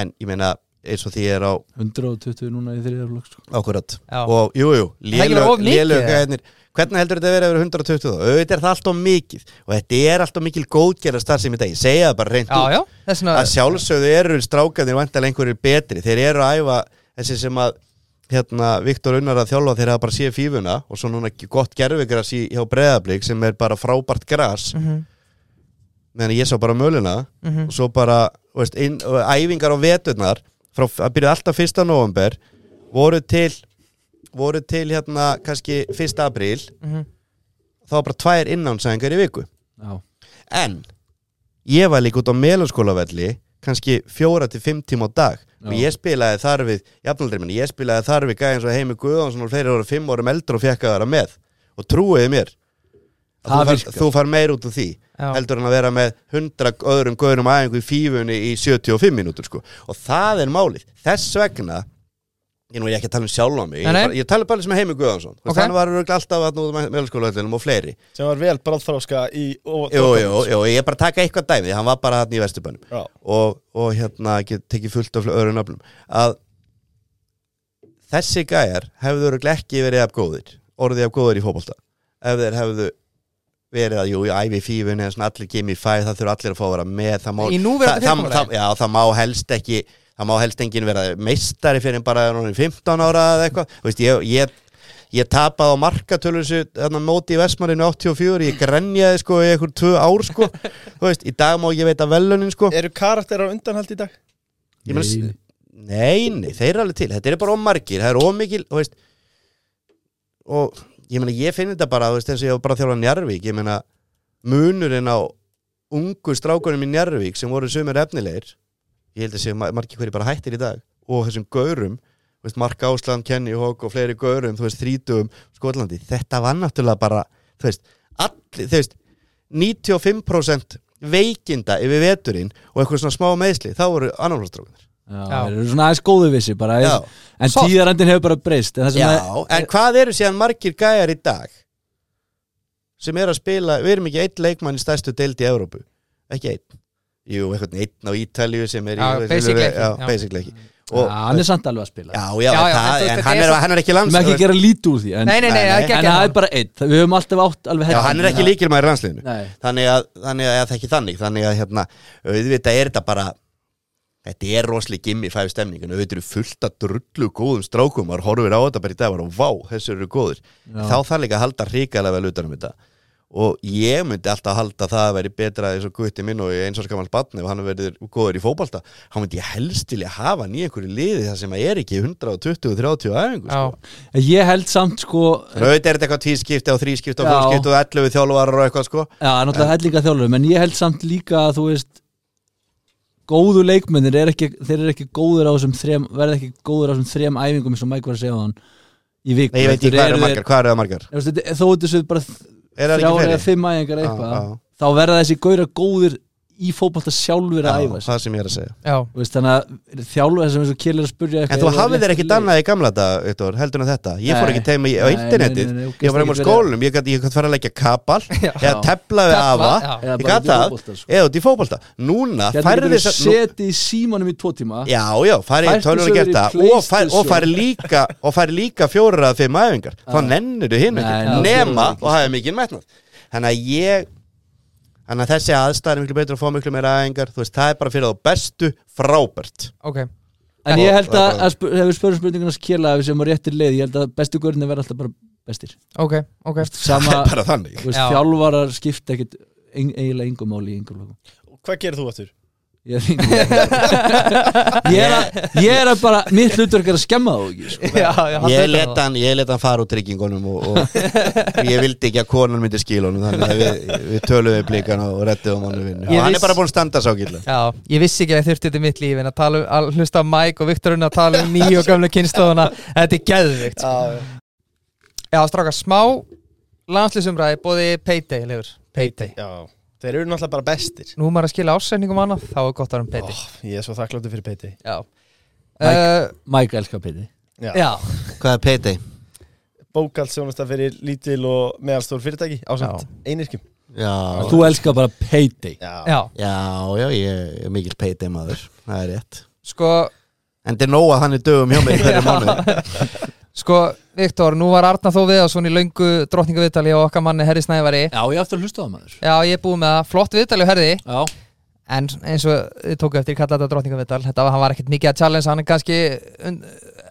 en ég meina eins og því ég er á 120 núna í þriðaflokk sko. ákvörðat Já. og jú, jú, ekki bara of lélög mikið, lélög eða? gæðinir. hvernig heldur þetta að vera yfir 120 þá auðvitað er það alltaf mikið og þetta er alltaf mikil góðgerðar starfsemi í dag ég segja það bara reynd Já, út. já, þess að vegna sjálfsögðu eru strákanir vantilega einhverjir betri, þeir eru að æfa þessi sem að hérna, Viktor Unnar að þjálfa þeir hafa bara séð fífuna og svo núna ekki gott gerfigras í, hjá breðablík sem er bara frábært gras Mhm, meðan ég sá bara möluna mhm. og svo bara þú veist, inn, og æfingar á veturnar frá, að byrja alltaf 1. november voru til voru til hérna kannski 1. apríl Mhm. þá var bara tvær innánsæðingar í viku Já. en ég var líka út á meðlanskólavelli kannski fjóra til fimm tíma á dag og Já. ég spilaði þar við jafnaldri minni, ég spilaði þar við gæði eins og heimi Guðánsson og fleiri voru fimm árum eldur og fekk að vera með og trúiði mér Það að þú fær, virkar. þú fær meir út úr því Já. heldur en að vera með 100 öðrum gaurum aðeingu í fífunni í 75 mínútur sko. og það er málið þess vegna ég nú er ég ekki að tala um sjálfa mig Nei, nei. ég, bara- ég tala bara sem heimi Guðánsson Ok. okay. hann var örugglega alltaf að nú meðlanskólavellinum og fleiri sem var vel bráðfráska í og, sko. Jú, jú, jú, ég er bara að taka eitthvað dæmi hann var bara hann í vesturbænum Já. og, og hérna get, tekið fullt af öðru nöfnum að þessi gæjar hefðu örugglega ekki verið af góðir orðið af góðir í fótbolta ef þeir hefðu verið að jú, jú, æfi fífun eða svona allir gemi fæ það þurfa allir að fá að vera með það má, Í núverandi það, það, fyrirkomulagi? það, já, það má helst ekki það má helst enginn vera meistari fyrir en bara er hann orðinn 15 ára eða eitthvað Þú veist, ég, ég Ég tapaði á markatölu þessu þarna móti í Vestmarinu 84, ég grenjaði sko í einhver tvö ár sko, þú veist, í dag má ég veita velunin sko. Eru karakterar á undanhald í dag? Ég meina, Nei. s- Nei, nei, þeir eru alveg til Þetta er bara ómargir, það er ómikil þú veist, og ég meina ég finn þetta bara, þú veist, eins og ég var bara að þjálfa Njarvík ég meina, munurinn á ungu strákunum í Njarvík sem voru sumir efnilegir ég held að séu ma- margir hverju bara hættir í dag og þessum gaurum, þú veist, Mark Ásland Kenny Hawk og fleiri gaurum, þú veist, þrítugum Skotlandi, þetta var náttúrulega bara þú veist, allir, þú veist 95% veikinda yfir veturinn og eitthvað svona smá meðsli þá voru annarflóðstrákunar Já, Já. þeir eru svona aðeins góðu vissi bara, Já, en Soft. tíðarandin hefur bara breyst en það sem já að- eh, en hvað eru síðan margir gæjar í dag sem er að spila við erum ekki einn leikmann í stærstu deild í Evrópu ekki einn Jú, einhvern einn á Ítalíu sem er í Já, basic ekki, já, já. basic leiki Já, hann er samt alveg að spila Já, já, Já, já, það, en þú- en þetta hann er er, svo- hann er ekki við erum ekki að landsliðinu gera lít úr því en, Nei, nei, nei, Nei, það er nei. ekki en að það gera er bara einn við höfum alltaf átt alveg Já, hann er ekki líkilmaður í landsliðinu nei, þannig að, þannig að, eða það er ekki þannig þannig að, hérna, auðvitað er þetta bara þetta er rosalega gimmi fæfi stemning en auðvitað eru fullt að drullu góðum strákum maður horfir á þetta bara í dag og vá, þessu eru góðir Já. þá þarf líka að halda ríkalega vel utanum þetta og ég myndi alltaf halda það að veri betra eins og gutti minn og eins og skamal batni og hann verður góður í fótbalta hann myndi ég helst til að hafa hann í einhverju liði þar sem að er ekki 120-30 æfingu Já. sko. En ég held samt sko En auðvitað er þetta eitthvað tískipti og þrískipti og Já. fórskipti og 11 þjálfarar og eitthvað sko Já, náttúrulega hellinga þjálfur, en ég held samt líka að þú veist góðu leikmennir er ekki, þeir eru ekki góður á þessum þrem, verða ekki góður á þessum þrem æfingum eins og Mike var að segja á hann í viku Nei, ég veit ekki Þeir hvað eru eru það margar, hvað eru það margar? þeir- þú veist, þetta- Þó þetta séu bara Er það ekki þrjár fleiri? eða fimm æfingar eða Já, eitthvað já. þá verða þessi gauðra góðir í fótbolta sjálfur að Já, æfa sig. það sem ég er að segja Já, Þú veist, þannig að þjálfur sem eins og kýlir að spurja En þú hafið þér ekki dannað í gamla dag, Viktor, heldur en þetta Ég fór Nei. ekki teima í- á Nei, internetið nei, nei, nei, þú Ég var um gast á ekki verið- skólum, ég gæti ég gat fara að leggja kapal eða tepla við Tefla, afa já. Eða Ég bara gat út í það, fótbolta, sko. eða út í fótbolta Núna Færði færði þess þess að Seti í símanum í tvo tíma Já, já, farið í Færtu tölvun og sögur gert í það og fær- og PlayStation. farið líka, og fær líka fjórar að fimm æfingar þá nennir þú hinn Nei, ekki nei, nema þú gerir það ekki, og hafa mikið metnað Þannig að ég Þannig að þessi aðstæðan er miklu betur að fá miklu meira æfingar Þú veist, það er bara fyrir þá bestu frábært ok En ég held Það er að, bara- að spu- ef við spörum spurninguna skila ef við sem á réttir leið, ég held að bestu görðinni verða alltaf bara bestir Ok, ok Sama, Það er bara þannig þú veist, Já. þjálfarar skipta ekkit ein, eiginlega engum máli í engum lögum Hvað gerir þú aftur? Ég er, engum- ég er, að, ég er að bara, mitt hlutverk er að skemma þá ekki sko. Já, já, hann Ég um veit let það. hann, ég let hann fara úr tryggingunum og, og ég vildi ekki að konan myndi skila honum þannig að við, við töluðum við blikana og rettuðum hann vinnu Ég og hann viss- er bara búin að standa sá gilla Já, ég vissi ekki að ég þurfti þetta í mitt líf en að, tala, um- að hlusta á Mike og Viktorun að tala um nýju og gamlu kynstofuna þetta er geðvikt Já, já stráka, smá landslýsumræði bóði Payday, lefur Payday Já, þeir eru náttúrulega bara bestir Nú er maður að skila ásendingum annað, þá er gott að vera um Payday Ég er svo þakkláttur fyrir Peiti Já Mike. Uh, Mæk elka piti já, Hvað er payday? Bókaldsjónasta fyrir lítil og meðalstór fyrirtæki ásamt einirkjum Já, Þú elskar bara payday já, já, já, ég er mikill payday maður það er rétt sko, En þetta er nóg að hann er dögum hjá mig hverju mánu sko Viktor, nú var Arna þó við og svona í löngu drottningaviðtali og okkar manni Herri Snævari Já, ég aftur að hlusta á það maður Já, ég er búið með það, flott viðtali og Herri Já, en eins og þið tóku eftir kalla þetta drottningavital þetta var, hann var ekkert mikið að challenge hann er kannski, und,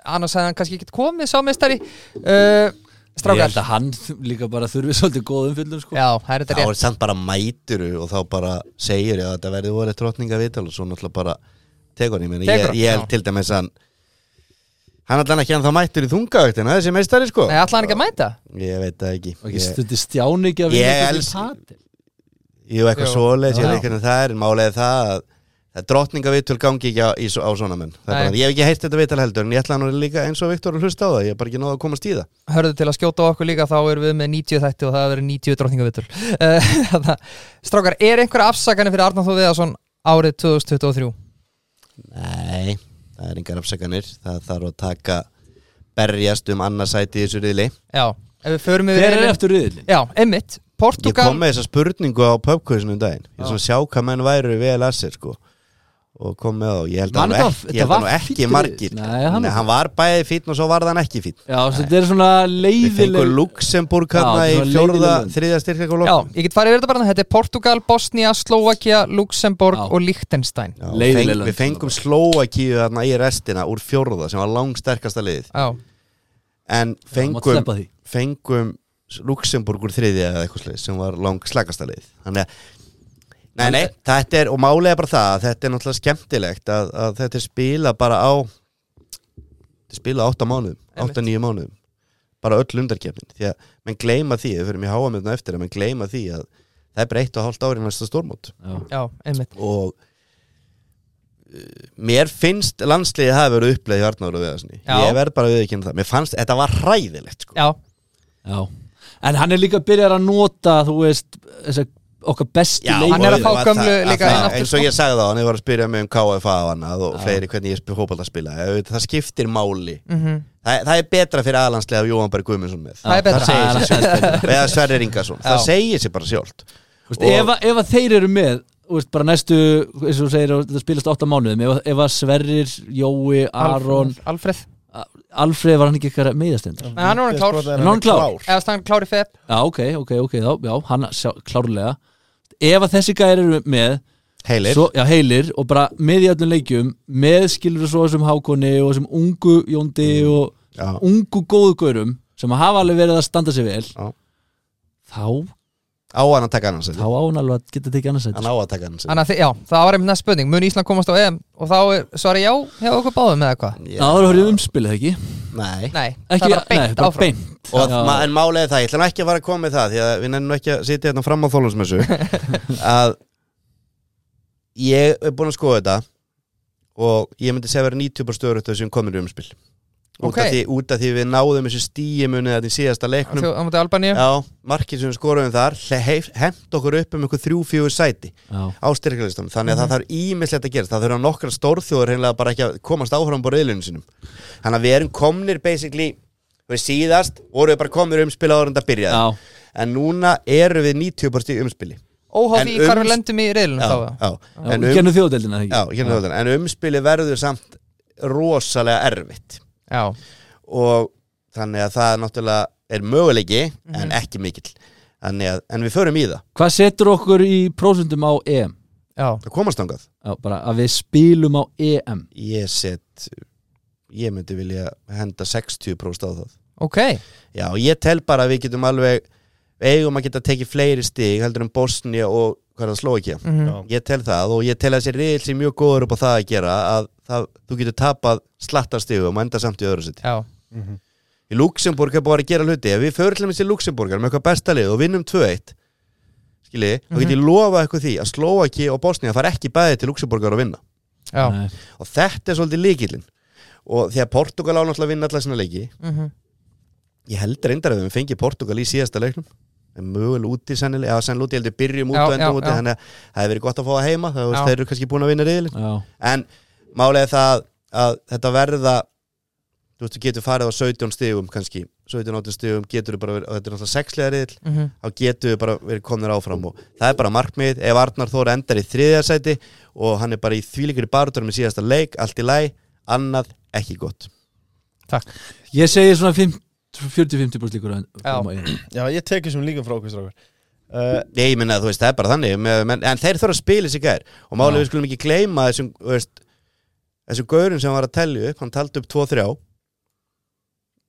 annars hefði hann kannski ekkert komið sá meistari uh, ég strákar held að hann líka bara þurfi svolítið góðum fyllum sko já, það er Þá þetta rétt er samt bara mæturu og þá bara segir ég að þetta verði voru trotninga viðtal og svo náttúrulega bara tegur hann, ég meina Tekur ég, hann, ég held já. til dæmis að hann hann allan ekki hann þá mættur í þungaöktina þessi meistari sko Nei, ætlaði hann ekki að mæta? Ég veit það ekki Og ekki ég, stundi stjáni ekki að vinna Ég fyrir elska- patel. Jú, eitthvað Jú. svoleiðis, ég Já. veit ekki hvernig það er en Málega það að að drottningavitul gangi ekki á, í, svo- á svona menn Það er Nei. bara, Ég hef ekki heilt þetta vital heldur en ég ætla hann að líka eins og Viktor að hlusta á það Ég er bara ekki náða að komast í það Hörðu til að skjóta á okkur líka þá erum við með 90 þætti og það verður 90 drottningavitul uh, þarna. Strákar, er einhverja afsakanir fyrir Arnar Þó Viðarsson árið 2023? Nei, það er engar afsakanir Það þarf að taka berjast um annarsæti í þessu riðli Já, ef við förum yfir Hver er riðilinn- eftir riðilin? Já, einmitt, Ég Portugal kom með þessa spurningu á pubquizinu um daginn Ég er svona að sjá hvað menn væru vel að sér sko og kom með þá, ég held að Man, nú þetta var- ekki, þetta ég held að var nú fínn ekki riðill. margir Nei, hann- Nei, hann var bæði fýtn og svo varð hann ekki fýtn Já, þetta er svona Við leiðileg fengum Luxemburg hann Já, í svona fjórða, leiðileg lönd. þriðja styrkleik Já, ég get farið yfir þetta bara Þetta er Portugal, Bosnia, Slovakia, Luxemburg Já. og Liechtenstein Já, Leiðileg feng, lönd. við fengum Slóakíu þarna í restina úr fjórða sem var langsterkasta liðið Já, en mátt fengum, sleppa því. fengum Luxemburg úr þriðja eða eitthvað slið sem var langslagasta liðið þannig að Nei, nei, þetta er, og málega bara það að þetta er náttúrulega skemmtilegt að, að þetta er spila bara á Þeir spila 8 mánuðum, Einmitt. 8-9 mánuðum bara öll undarkefnin, því að menn gleyma því, þau fyrir mig háa með þetta hérna eftir að menn gleyma því að það er bara eitt og hálft ári næsta stórmót Já. já, einmitt og uh, mér finnst landsliðið hafi verið uppleið í Arnáru Veðarsni, Já. ég verð bara að viðkynna það mér fannst, þetta var hræðilegt sko. já, Já. En hann er líka að byrja að nota þú veist, þessa okkar bestu Já, leikmenn hann er að og- fá gömlu það- líka það- inn aftur, eins sko. og ég sagði þá, hann hefur að spyrja mig um KFA og annað og fleiri hvernig ég spil hópað að spila það skiptir máli mhm það, það er betra fyrir aðlandslega af Jóhann Berg Guðmundsson með Það er betra. segir sig sjálft eða Sverrir Ingarsson, það Já. segir sig bara sjálft Þú veist, Og- ef, að- ef að þeir eru með þú veist, bara næstu, eins og þú segir það spilast átta mánuðum, ef, að- ef að Sverrir Jói, Aron, Alf- Alfreð Alfreð var hann ekki eitthvað meðastendar Nei, hann er orðinn klár. Er hann klár? eða stann klári feb Já, ok, ok, ok, þá, já, hann sjá, klárlega ef að þessi gæri eru með heilir, svo, já, heilir og bara með í öllum leikjum með skilur svo þessum hákonni og þessum ungu jóndi og já, ungu góðu gaurum sem hafa alveg verið að standa sig vel Já. þá, á hann að taka hann þá á hann alveg að geta tekið annars hann sætt á að taka hann Þannig að þið, já, það var einmitt næst spurning Mun Ísland komast á EM og þá er svarið já hefur okkur báðum eða hvað? Já, það voru umspilið ekki, nei Nei, það ekki er bara beint nei, bara áfram beint. Og Já. ma en málið er það, ég ætla nú ekki að fara að koma með það því að við nennum nú ekki að sitja hérna fram á þólansmessu að ég er búin að skoða þetta og ég myndi segja að vera 90% stöður þetta sem komin í umspil út, Ok. af því, út af því við náðum þessu stíimunni þetta í síðasta leiknum Þjó, á mútið Albaníu Já, markið sem við skoruðum þar hend okkur upp um eitthvað þrjú-fjögur sæti Já. á styrkjalistum, þannig að það þarf ímislegt að gerast það þurfa nokkra stórþjóður reynilega bara ekki að komast áfram bara eðlunum sínum þannig að við erum komnir basically við síðast vorum við bara komnir umspil áður en það byrjaði Já. en núna eru við 90% í umspili Óháð En því hvar við umst- lendum í reilunum já, þá já. Já, En, í um, gennum þjóðdeldina já, ekki hérna þáttan. en umspili verður samt rosalega erfitt Já, og þannig að það náttúrulega er möguleiki en ekki mikill Þannig að, en við förum í það, Hvað setur okkur í prósundum á EM? já, það komast þangað Já, bara að við spilum á EM ég set ég myndi vilja henda 60% á það ok já, ég tel bara að við getum alveg við eigum að geta tekið fleiri stig heldur um Bosnia og hvað er það sló ekki mhm. ég tel það og ég tel að þessi riðil sem mjög góður upp á það að gera að það, þú getur tapað slatta stigum og enda samt í öðru seti Já, í Luxemburg er bara að gera hluti ef við förum til dæmis í Luxemburgar með eitthvað besta lið og vinnum 2-1 skilji, þá get ég lofað eitthvað því að Slovaki og Bosnia fara ekki bæði til Luxemburgar að vinna já, Nei. og þetta er svolítið líkillin og þegar Portugal ánáttúrulega vinna allar sína leiki mhm. ég held reyndar að við höfum fengið Portugal í síðasta leiknum en möguleg úti sennilega, eða sennilega úti, ég held við byrjum út Já, og endum já, úti já. þannig að það hefur verið gott að fá það heima þá þú veist, Já. þeir eru kannski búin að vinna reyðilin Já, en málega það að, að þetta verða þú veist, þú getur farið á 17 stigum kannski 17-18 stigum getur bara verið, og þetta er náttúrulega sexlega reyðil Mhm. þá getur við bara verið komnir áfram og það er bara markmið, ef Arnar Þór endar í þriðja sæti og hann er bara í þvílíkri barutur með síðasta leik, allt í læ annað ekki gott takk Ég segi svona 5 40-50 brúst líkur að- Já. um á EM. Já, ég teki sem líka frá okkur strákar uh, Nei, ég minna, þú veist, það er bara þannig með- menn, en þeir þurfa að spila sér gær og málega Já. við skulum ekki gleyma þessum þú veist, þessum gaurum sem hann var að telja upp hann taldi upp 2-3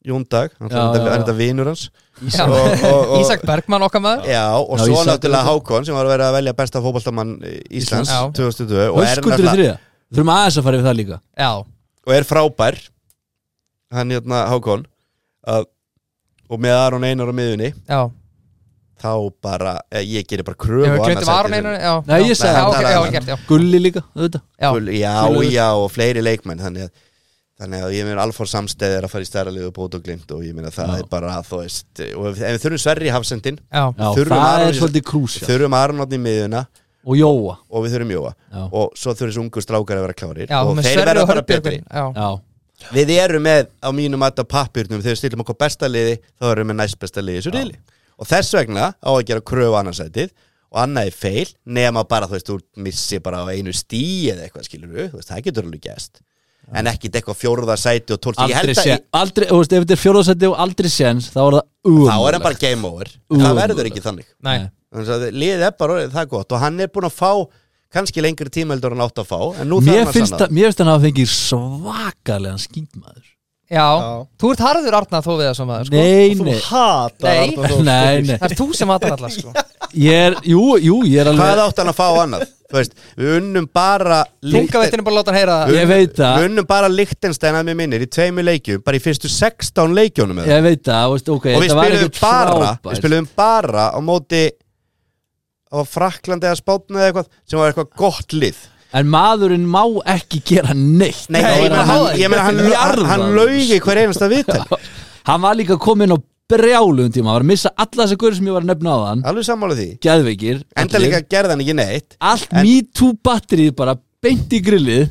Jóndag, hann Já, já, já, já, já. er þetta vinur hans Já. Og- og- og- Ísak Bergmann okkar maður Já, og Já, svo Ísak- náttúrulega Hákon sem var að vera að velja besta fótboltamann Íslands Já. 2002 og er, Höskuldur í náttúrulega- þriða Þurfum aðeins að fara yfir það líka Já, og er frábær hann hérna Hákon að, og með Aron Einar á miðunni já þá bara, eh, ég gerir bara Ef við kröfu á annað glemtum sætið. um hérna. Aron Einar Já, Nei, já. ég segi Já, það. ok, Það er já, Aron. gert, já Gulli líka, auðvitað Já, Gull, já, Gullur. já, og fleiri leikmenn þannig að, þannig að ég meina Alfons Samsteð er að fara í stærra liðu bót og glimt og ég meina það Já. er bara þú veist og ef ef við þurfum Sverri í hafsendin já, Já, Þurfum það Aron er í- svolítið krúsja þurfum Arnótt í miðuna Og Jóa og við þurfum Jóa Já, og svo þurfum þessu ungu strákar að vera klárir já og með þeir Sverri verða og bara betri Hörðbjörgun Já, já, við erum með á mínum að þetta pappirnum þegar við stillum okkur besta liði þá erum við með næst besta liði í þessu Já. riðli og þess vegna á að gera kröfu annarsætið og annað er feil nema bara þú veist, þú missi bara á einu stíi eða eitthvað skilur við, þú veist, það getur alveg gæst en ekkit eitthvað fjórða sæti og tólfti ég aldrei held að séns Aldrei, þú veist, ef þetta er fjórðarsætti og aldrei séns Þá er það þá uðum er hann bara game over en það verður ekki þannig nei, Þannig að liðið er bara orðið það gott og hann er búin að fá kannski lengri tímeldur en átt að fá en nú Mér þarf hann finnst að sanna það- mér finnst hann að hafa fengið svakalega skýtmaður já Já. Þú ert harður Arna þó við þessum maður, sko Nei, og þú nei, hatar Nei. Arnar Þór nei, nei Það er þú sem hattar alla, sko Ég er, jú, jú, ég er alveg Hvað átt hann að fá annað? Þú þú veist, við unnum bara Tungavættin er bara að láta hann heyra það Ég veit það. Við unnum bara Lichtenstein að mér minnir í tveimu leikjum, bara í fyrstu 16 leikjónum með það. Ég veit það, veist, ok, og við þetta var spilum ekkert bara frábært. við spilum bara á móti á Fraklandi eða Spátna eða eitthvað sem var eitthvað gott lið En maðurinn má ekki gera neitt Nei, Þá ég er meina hann, ég meina hann, hann, jarðaður. hann laugi hver einasta viðtal Hann var líka kominn á brjálum tíma Hann var að missa alla þessa guður sem ég var að nefna á hann alveg sammála því Geðveikir enda allir. líka gerði hann ekki neitt Allt En- MeToo batterið bara beint í grillið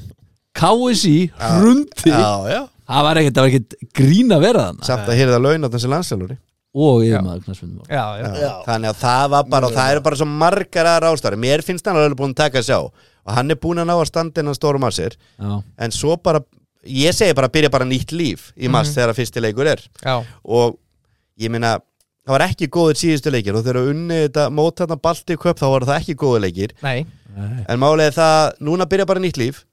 KSI, hrundi já, já. Það var ekkert, það var ekkert grín að vera þannig samt að hýrða laun á þessi landslæluri Og ég maður knarsfundum Já, já, þannig að það var bara, og það eru bara svo margar aðra ástæður, mér finnst hann alveg búin að taka að sjá og hann er búin að ná að standa innan stórum að sér Já, en svo bara, ég segi bara byrja bara nýtt líf í mass Mhm. þegar að fyrsti leikur er já, og ég meina það var ekki góður síðustu leikir og þegar að unni þetta mót þarna balti köp þá var það ekki góður leikir nei en málið er það, núna byrja bara nýtt líf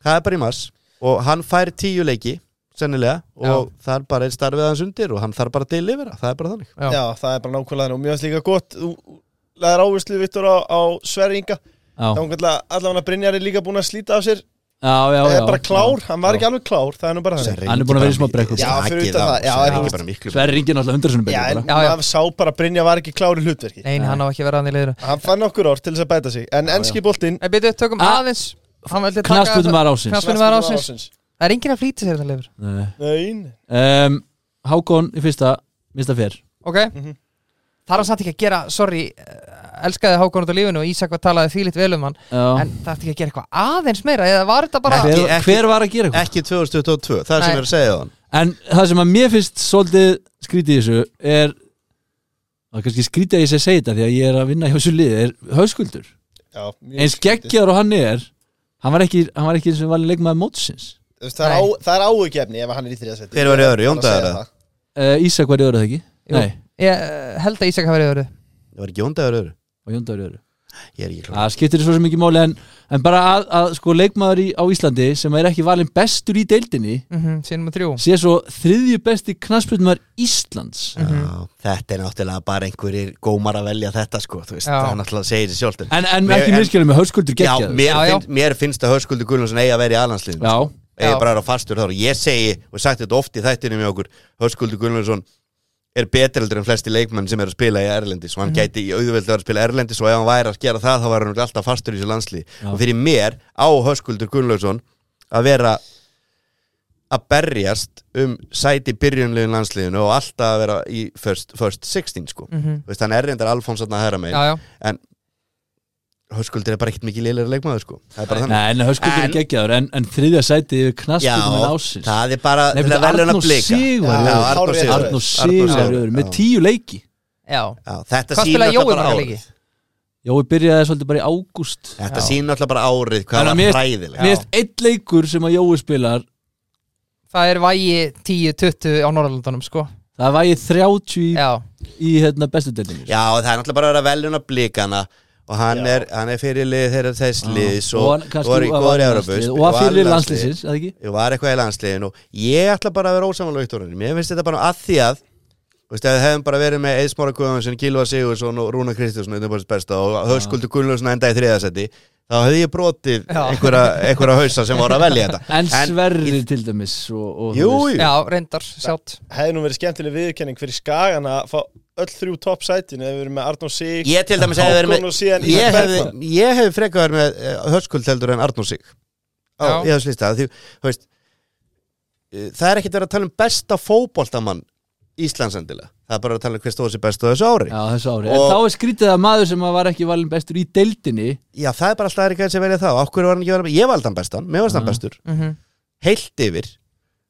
það er bara í mass og hann fær tíu leiki, sennilega og þar bara er starfið hans undir og hann þarf bara að delivera, það er bara þannig Já. Já, það er bara nákvæmlega og mjög hans líka gott þú laðir áherslu Vittur á, á Sverringa já, þá já, allavega Brynjar er líka búin að slíta af sér já, það já er bara klár, hann var Já. ekki alveg klár það er nú bara þannig Hann er búin að vera í smá brekku. Já, fyrir utan það, já, það já. er bara miklu Sverri ringir náttúrulega hundrasunum Já, en betur bara. Já, já. maður sá bara að Brynjar var ekki klár í hlutverki Nei, hann á ekki verið hann í liðinu Hann fann okkur orð til þess að bæta sig En ennski boltinn Nei, byrju, tökum Ah. aðeins Hann vildi taka- Knattspyrnu maður ársins. Knattspyrnu maður ásins Það er enginn að flýta sér það lifur Nei. Nein um, Hákon í fyrsta Mista fyrr Ok Það er hann samt ekki að gera, sorry eh, Elskaði Hákon út á lífinu og Ísak var talaði þvílitt vel um hann En það er ekki að gera eitthvað aðeins meira Eða var þetta bara Nei, hver, Ekki- ekki- hver var að gera eitthvað? ekki 2022, það er sem Nei. ég er að segja þann En það sem að mér finnst svolítið skrítið í þessu er það er kannski skrítið að ég sé að segja þetta því að ég er að vinna hjá þessu liði er hauskuldur Já, mjög eins skrítið. geggjar og hann er hann var ekki, hann var ekki eins og valin leikmaði mótsins Þú veist, Það er, á, Nei. það er áhugjefni ef hann er í þriðasætti Hver var í öðru, Jón Dagur eða? Dagur uh, Ísak var í öruð ekki? Jú. Nei, Ég eh, held að Ísak hafi verið öðru það var ekki jóndagur öðru, og Jóndar í öruð ég er ekki klár Það skiptir svo sem ekki máli en, en bara að, að sko leikmaður í, á Íslandi sem er ekki valin bestur í deildinni mm Sínum og þrjú sé svo þriðju besti knassbjörnumar Íslands Mhm. Já, þetta er náttúrulega bara einhverjir gómar að velja þetta sko, þú veist, Já. það náttúrulega segir sér sjálft en- En, en Mér- ekki en- miskjölu með hauskuldur Já, geggjaður mér, Já, já. Finnst, mér finnst að Höskuldur Guðlundsson eigi að vera í aðlandsliðinu Já, sko. eigi Já. bara að vera fastur þar og ég segi og sagt þetta oft í þættinu með okkur Höskuldur Guðlundsson er betri heldur en flesti leikmenn sem er að spila í Erlendis og hann gæti í auðveldu að spila Erlendis og ef hann væri að gera það þá var hann örugglega alltaf fastur í þessu landslið Já. og fyrir mér á Höskuldur Guðlundsson að vera að berjast um sæti byrjunlegin landsliðinu og alltaf að vera í first, first 16 sko mm Mhm. veist, hann er reyndar Alfons að hæra með Já, já en Höskuldur er bara ekkert mikið lélir leikmaður sko það er bara þannig Nei, en hauskuldur En- er geggjaður en, en þriðja sæti yfir knassbjörnum en Já, ásins það er bara Nei, til betur, að velja hann Arnór að blika Sigur. Já, Já, Arnór hárrétt. Sigur. Arnór Sigur. Sigurður með Já. tíu leiki Já Já, Þetta Hvað sýnir spilaði Jói alltaf bara marga árið leiki? Jói byrjaði svolítið bara í ágúst Þetta Já. sýnir alltaf bara árið hvað Þannig að var mér- hræðilega Mér veist einn leikur sem að Jói spilar Það er vægi 10-20 á Norrlandunum sko það vægi 30 í, Já í hérna, bestu deildinni Já, og það er alltaf bara að vera að velja hann að blika hana og hann Já. er, hann er fyrirlið þeirra þess liðs Ah, og, og, hann og kannski var í sko, var góðri í Európus landsliðið og að fyrir landsliðsins, eða ekki? Ég var eitthvað í landsliðinu og ég ætla bara að vera ósamanlega úttorinn Mér finnst þetta bara að því að Þú veist, ef við hefum bara verið með Eðsmára Guðvansson, Gilva Sigursson og Rúna Kristjánsson Unnibólsins besta og Höskuldur Gunnlaugsson enda í þriðasetti þá hefði ég brotið Já. einhverja, einhverja hausa sem voru að velja þetta En Sverri til dæmis og, og, Jú, þú veist. jú, Já, reyndar, sjátt Hefði nú verið skemmtileg viðurkenning fyrir Skagan að fá öll þrjú topp sætin Ef við erum með Arnó Sig ég til dæmis hefði verið Hákon og síðan Ísak með ég hefði, Bergmann. ég hefði frekar verið með eh, Höskuld heldur en Arnur Sig á, Já. ég hefði slýst það því, þú veist, eh, það er ekkert verið að tala um besta fótboltamann Íslands endilega það er bara að tala um hver stóð sér best á þessu ári Já, já. þessu ári Og- En þá er skrítið að maður sem að var ekki valin bestur í deildinni það er bara alltaf erika sem verið þá okkur var hann ekki verið, ég valdi hann bestan, mér varst hann Já. bestur mm heilt yfir,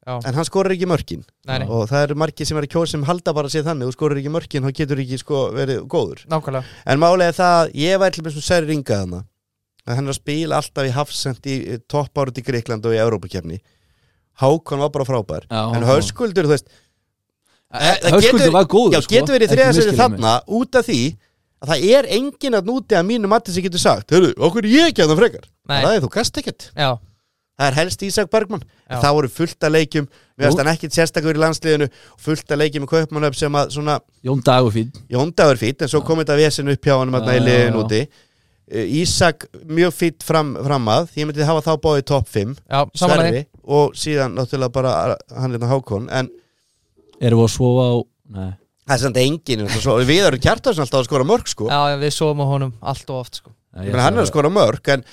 Já. en hann skorir ekki mörkin Nei, nei, og það eru margir sem er að kjósa sem halda bara sér þannig og skorir ekki mörkin, þá getur ekki sko verið góður nákvæmlega En málega það að ég var til með svo særi ringað hana að hann er að spila alltaf í hafsend í toppárut í Greikland og í Európa-kefni Hákon var bara frábær Já, en Hákon. höskuldur, þú veist það getur- Höskuldur var góður Já, sko. getur verið í Ekki þriðasöru misskilja mig. þarna út af því að það er enginn að núti að mínu mati sem getur sagt Hörru, okkur er ég ekki að það frekar Nei. Það er þú gast ekkert Já, Það er helst Ísak Bergmann Já. En það voru fullt að leikjum Við Jú. veist hann ekkit sérstakur í landsliðinu og fullt að leikjum í Kaupmannöf sem að svona Jón Dagur fín Jóndagur fýtt en svo kom þetta vesen upp hjá hann Já, í já, liðin já. úti Eh, Ísak mjög fýtt fram, fram að Ég myndi hafa þá bóðið topp 5 Já, samanlega Sverri og síðan náttúrulega bara hann hérna Hákon en Erum við að sofa á Nei, það er samt engin við erum kjartarsin alltaf að skora mörg sko Já, en við sofum á honum allt og oft sko. Nei, Ég ég meina, hann ætla er að skora mörg en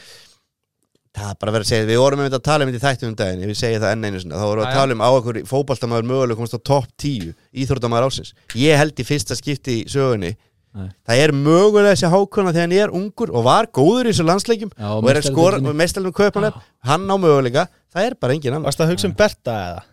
það er bara að vera að segja við vorum einmitt að tala um þetta í þættum um daginn ef ég segi það enn einu sinna þá vorum við Já, að já. tala um á okkur fótballtamaður mögulega komast á topp 10 íþórtamaður ásins ég held í fyrsta skipti í sögunni Nei. það er mögulega þessi hákona þegar hann er ungur og var góður í þessu landsleikjum Já, og er að skora meistaradeildinni. með mestalum kaupanum hann á mögulega það er bara engin annar Varst það að hugsa um Berta eða?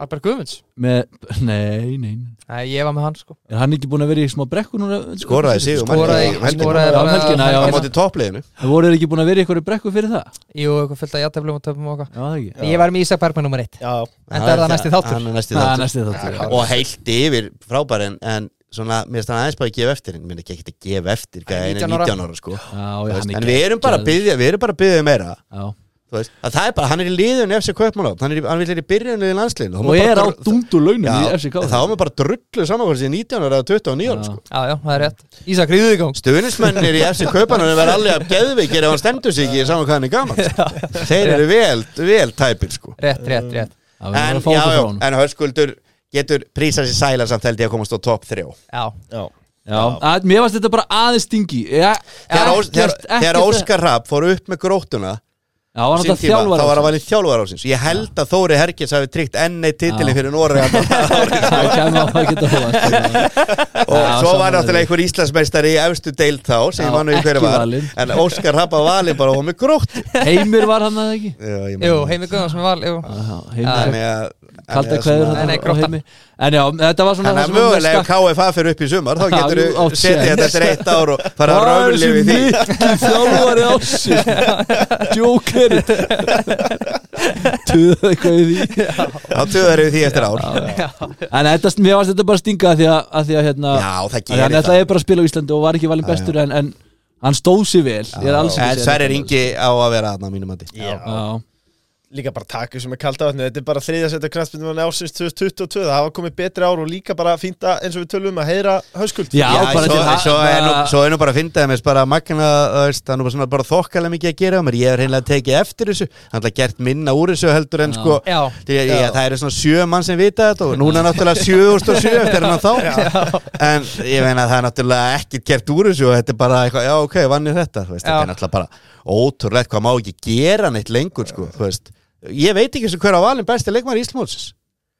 Albert Guðmunds með, Nei, nei Nei, ég var með hann sko. Er hann ekki búin að vera í smá brekku núna? skoraði sig Skoraði, um helgina. skoraði Já, um helgina, já, á Hérna. móti toppliðinu Það voru þeir ekki búin að vera í eitthvað brekku fyrir það? Jú, eitthvað fylgta játeflum og töfum og okkar Já, það ekki Ég var með Ísak Bergman nummer 1 Já, En það er það næsti þáttur Hann er næsti Það er þáttur. næstu þáttur og heilt yfir frábær en, en svona, mér finnst hann aðeins bara að gefa eftir en mér ekki ekki að gefa eftir Hann er gæði en 19 ára. 19 ára sko Já, Þú já, veist, hann en er við erum bara að byggja við erum bara að byggja meira Já. Þú veist, að það er bara, hann er í liðun FC Kaupmannátt hann, er í- hann vil er í byrjunni í landsliðinu Þá má Og bara er á dr- dundu launum í Já, FCK þá er maður bara drullu samanhverfið sér 19 ára eða 29 ára Já. sko. Já, já, það er rétt Ísak ríðuði í gang Stuðnismennir í FC Kaupmannátt verða alveg að geðveikir ef hann stendur sig ekki saman hvað hann er gaman sko. Þeir eru vel, vel tæpir sko Rétt, rétt, rétt Já, við En, erum að já, fá okkur já, frá honum. en höskuldur getur prísað sér sæla samt held ég að komast á topp 3 Já, já Já, að, mér varst þetta bara aðeins stingi Já, þegar, Ós, ekkert- þegar, þegar ekkert- Óskar Rapp fór upp með grótuna Já, hann var sín alltaf tíma, þjálfara þá var hann valið þjálfar ásins ég held að Þóri Herkins hafi tryggt enn eitt titili Já. fyrir Nóri og Það kemur að sko. það geta hóðast Já, svo var sammála náttúrulega því. einhver Íslandsmeistari í efstu deild þá sem Já, ég mann við hverju ekki var valinn. en Óskar Rapp var valið bara og með gróttu Heimir var hann að ekki Já, ég meina. jú, Heimi Guðmunds með val, jú Já, Já. Heimir, Þannig að- þannig kalda að kveður svona- Nei, nei, þarna á grótta. Heimi. En já, þetta var svona Þannig að mögulega ef KFA fyrir upp í sumar þá Já, getur jú, á þú setið séns. þetta eftir eitt ár og fara að Hvað röfli er þessi við því mikli þjálfari ásins Joker Tuða eitthvað í því þá töður við því eftir ár En þetta, mér varst þetta bara stinga að því að, að, því að hérna, Já, það að hann gerir það ætlaði bara að spila á Íslandi og var ekki valin bestur en, en hann stóð sér vel Ég er alls En Sverrir Ingi á að vera aðna mínum að Já. Já, Líka bara takku sem er kalda vatni Þetta er bara þriðja setja kraftbindum ásins 2022 Það hafa komið betri ár og líka bara fínt að eins og við tölum um, að heyra höskuld Já, Já, bara svo, til svo, að- er nú, svo er nú bara að finna þeim bara magna, þú veist, það er nú bara, svona bara þokkalega mikið að gera á mér, ég hef reynilega tekið eftir þessu hann er gert minna úr þessu heldur en Já. sko Já, því að ég, það eru svona sjö mann sem vita þetta og núna náttúrulega 7007 eftir hann þá en ég meina það er náttúrulega ekkert gert úr þessu og þetta er bara eitthvað, já ok, vann ég þetta þú veist, Já. þetta er náttúrulega bara ótrúlegt hvað má ekki gera neitt lengur sko, þú veist ég veit ekki sem hver á valin besti leikmar Íslandsmótsins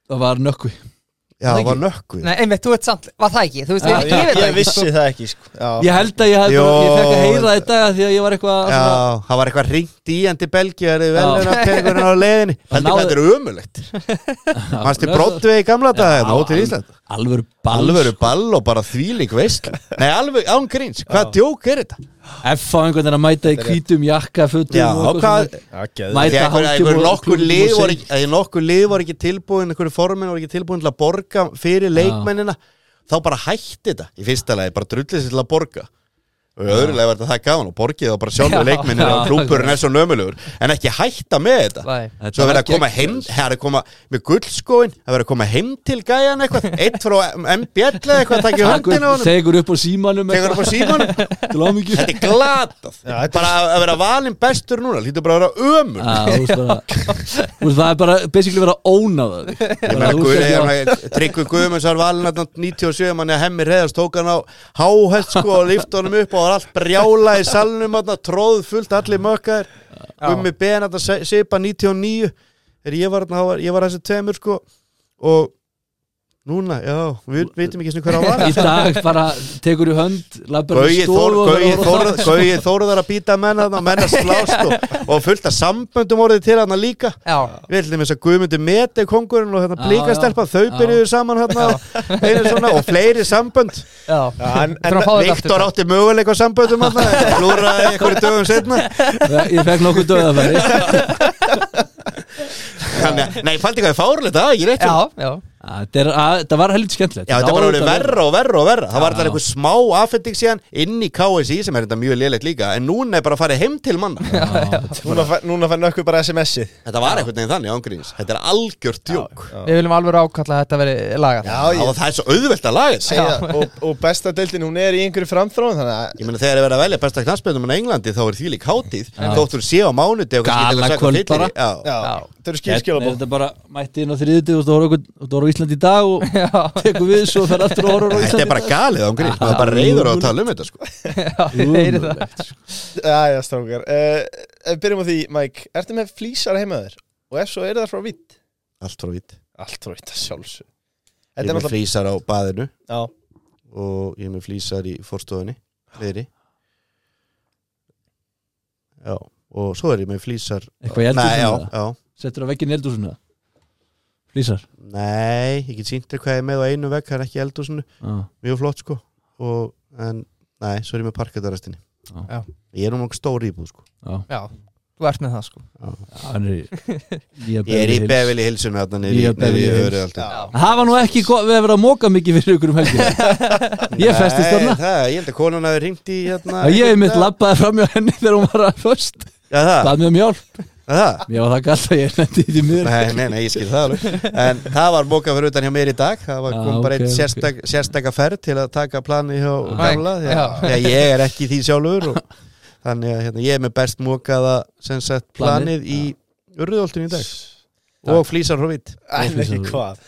það var nökkvi já, Það það ekki? var nökku nei, einmitt, þú ert samt Var það ekki, þú veist, ég, ég, ég veit það ekki vissi sko. það ekki sko. Já. Ég held að ég hef bara, ég fekk að Jó. heyra það í dag af því að ég var eitthvað Já, svona- það var eitthvað ringt í hann til Belgíu Það eru Já. veluna pengurinn á leiðinni Heldur hvað náði- þetta eru ömulegt Manstu Broadway í gamla daga hérna, Hótel Ísland Alvöru ball Alvöru ball og bara þvílík veist Nei, alveg án gríns, hvað djók er þetta? F á einhvern veginn að mæta í hvítum jakka fötum Já, og eitthvað hvað- svona. Já, geðveikt. Mæ- Því að einhver- hálftíma einhver og nokkur klukkutíma lið seint. voru ekki- að Nokkur lið voru ekki tilbúin Einhverju formin voru ekki tilbúin til að borga Fyrir leikmennina Þá bara hætti þetta Í fyrsta lagi, bara drullið sér til að borga Og í öðru lagi var þetta það gaman Og borgið þá bara sjálfur Já. leikmennina Og Já. klúpurinn er svo nömulugur En ekki hætta með þetta Nei. Þetta Svo var verið að koma gegn- heim, það er að koma með gullskóin, það verið að koma heim til gæjan eitthvað, eitt frá MBL eða eitthvað, takk í Tekur- höndina á honum, Tekur upp á símanum tekur upp á símanum, Til ámyggju þetta er glatað, Já, þetta er- bara að- að vera valinn bestur núna, lítur bara að vera ömur. Það er bara basically verið að óna það Ég meina, Guð- ég meina, Tryggvi Guðmunds var valinn þarna 97 manni að hemmi reyðast tók hann á háhest sko og lift honum upp og var allt brjála í salnum þarna, tróð fullt, allir mökkaðir Gummi Ben þarna se- sipa 99 þegar ég var, þarna, þá var, ég var þessi tveimur sko og núna, já, við veitum ekki svona hver á var Í dag bara tekur í hönd labbar í Gauji Þór, stofu og Gauji verður Þór, að- Gauji Þórðar að býta menn að menn að slást og, og fullt af samböndum orðið til hann líka Já, Við ætlum þess að Guðmundi Mete kongurinn og hérna Já, blíkastelpa, já. þau byrjuðu saman hérna einu svona og fleiri sambönd já Já, en, en, Þurfum að fá þetta sko. Viktor átti möguleika á samböndum hérna, en flúraði einhverju dögum setna Ég fekk nokkuð döðafæri Þannig, að- nei, fældi hvað er fárlegt, það er ekki rétt Já, já Þetta er- að- þetta var helviti skemmtilegt Já, þetta var á orðið auðvitað að vera. verra og verra og verra Það var Já. alltaf einhver smá affending síðan inn í KSI sem er þetta mjög lélegt líka en núna er bara að fara heim til manna Núna fær- Núna fann ökkur bara SMS-ið Þetta var einhvern veginn þannig ángríns Þetta er algjört djók Já. Við viljum alveg ákalla að þetta veri lagað Já, ég Og það er svo auðvelt að laga þetta segja það. og, og besta deildin, hún er í einhverju framþróun Þannig að Ég meina þegar er verið að velja besta knarspöndum en Englandi þá er því lík hátíð Þóttur sé á mánuði og kannski eitthvað Gala sagt á kvöld fyllir bara. Já, já, Já. þetta eru Hérna er skýrskjálabó Þetta bara mætti inn á þriðið og þú voru á Íslandi í dag og tekur við svo fer aftur og horfur á Þetta Íslandi er bara galið ángríns Maður er bara reyður á að tala um þetta sko Já, ég heyri það Jæja, strákar uh, Ef við byrjum á því, Mike, ertu með flýsar heimaður? Og ef svo eru það frá vitt? Allt frá vitt Allt frá vitt, sjálfsög Ég Þetta er er með náttúrulega flýsar á baðinu Já, og ég er með flýsar í forstofunni fleiri já, og svo er ég með flýsar Eitthvað í nei, já, eldhúsinu það? já, Settur á vegginn í eldhúsinu það? Flýsar nei, ég get sínt þér hvað ég er með á einu vekk, það er ekki í eldhúsinu Já. mjög flott sko og, en, nei, svo er ég með parkatarastinni Já. ég er nú mjög stór íbúð sko Já, þú ert með það sko Hann er í Nýja ég er í Beverly Hills. Beverly Hillsinu þarna niður í- Nýja niður í Beverly Öræfaldi. já. Það var nú ekki gott, við hefum verið að móka mikið fyrir ykkur um helgina Ég festist Nei, þarna það, ég held að konan hafi ringt í hérna Og ég mitt labbaði fram hjá henni þegar hún var að först Já, það, Bað mjög mjálp það Ég var það galt að ég lendi í því miður Nei, nei, nei, ég skil það alveg En það var bókað fyrir utan hjá mér í dag Það var Já, kom bara Ah, ok, okay, einn ok. sérstak, sérstaka ferð til að taka plani hjá Mike, gamla því að- já. því að ég er ekki í því sjálfur og, Þannig að hérna, ég er með best mókaða sem sett planið í Urðoltun í dag Og flýsar frá vitt en ekki hvað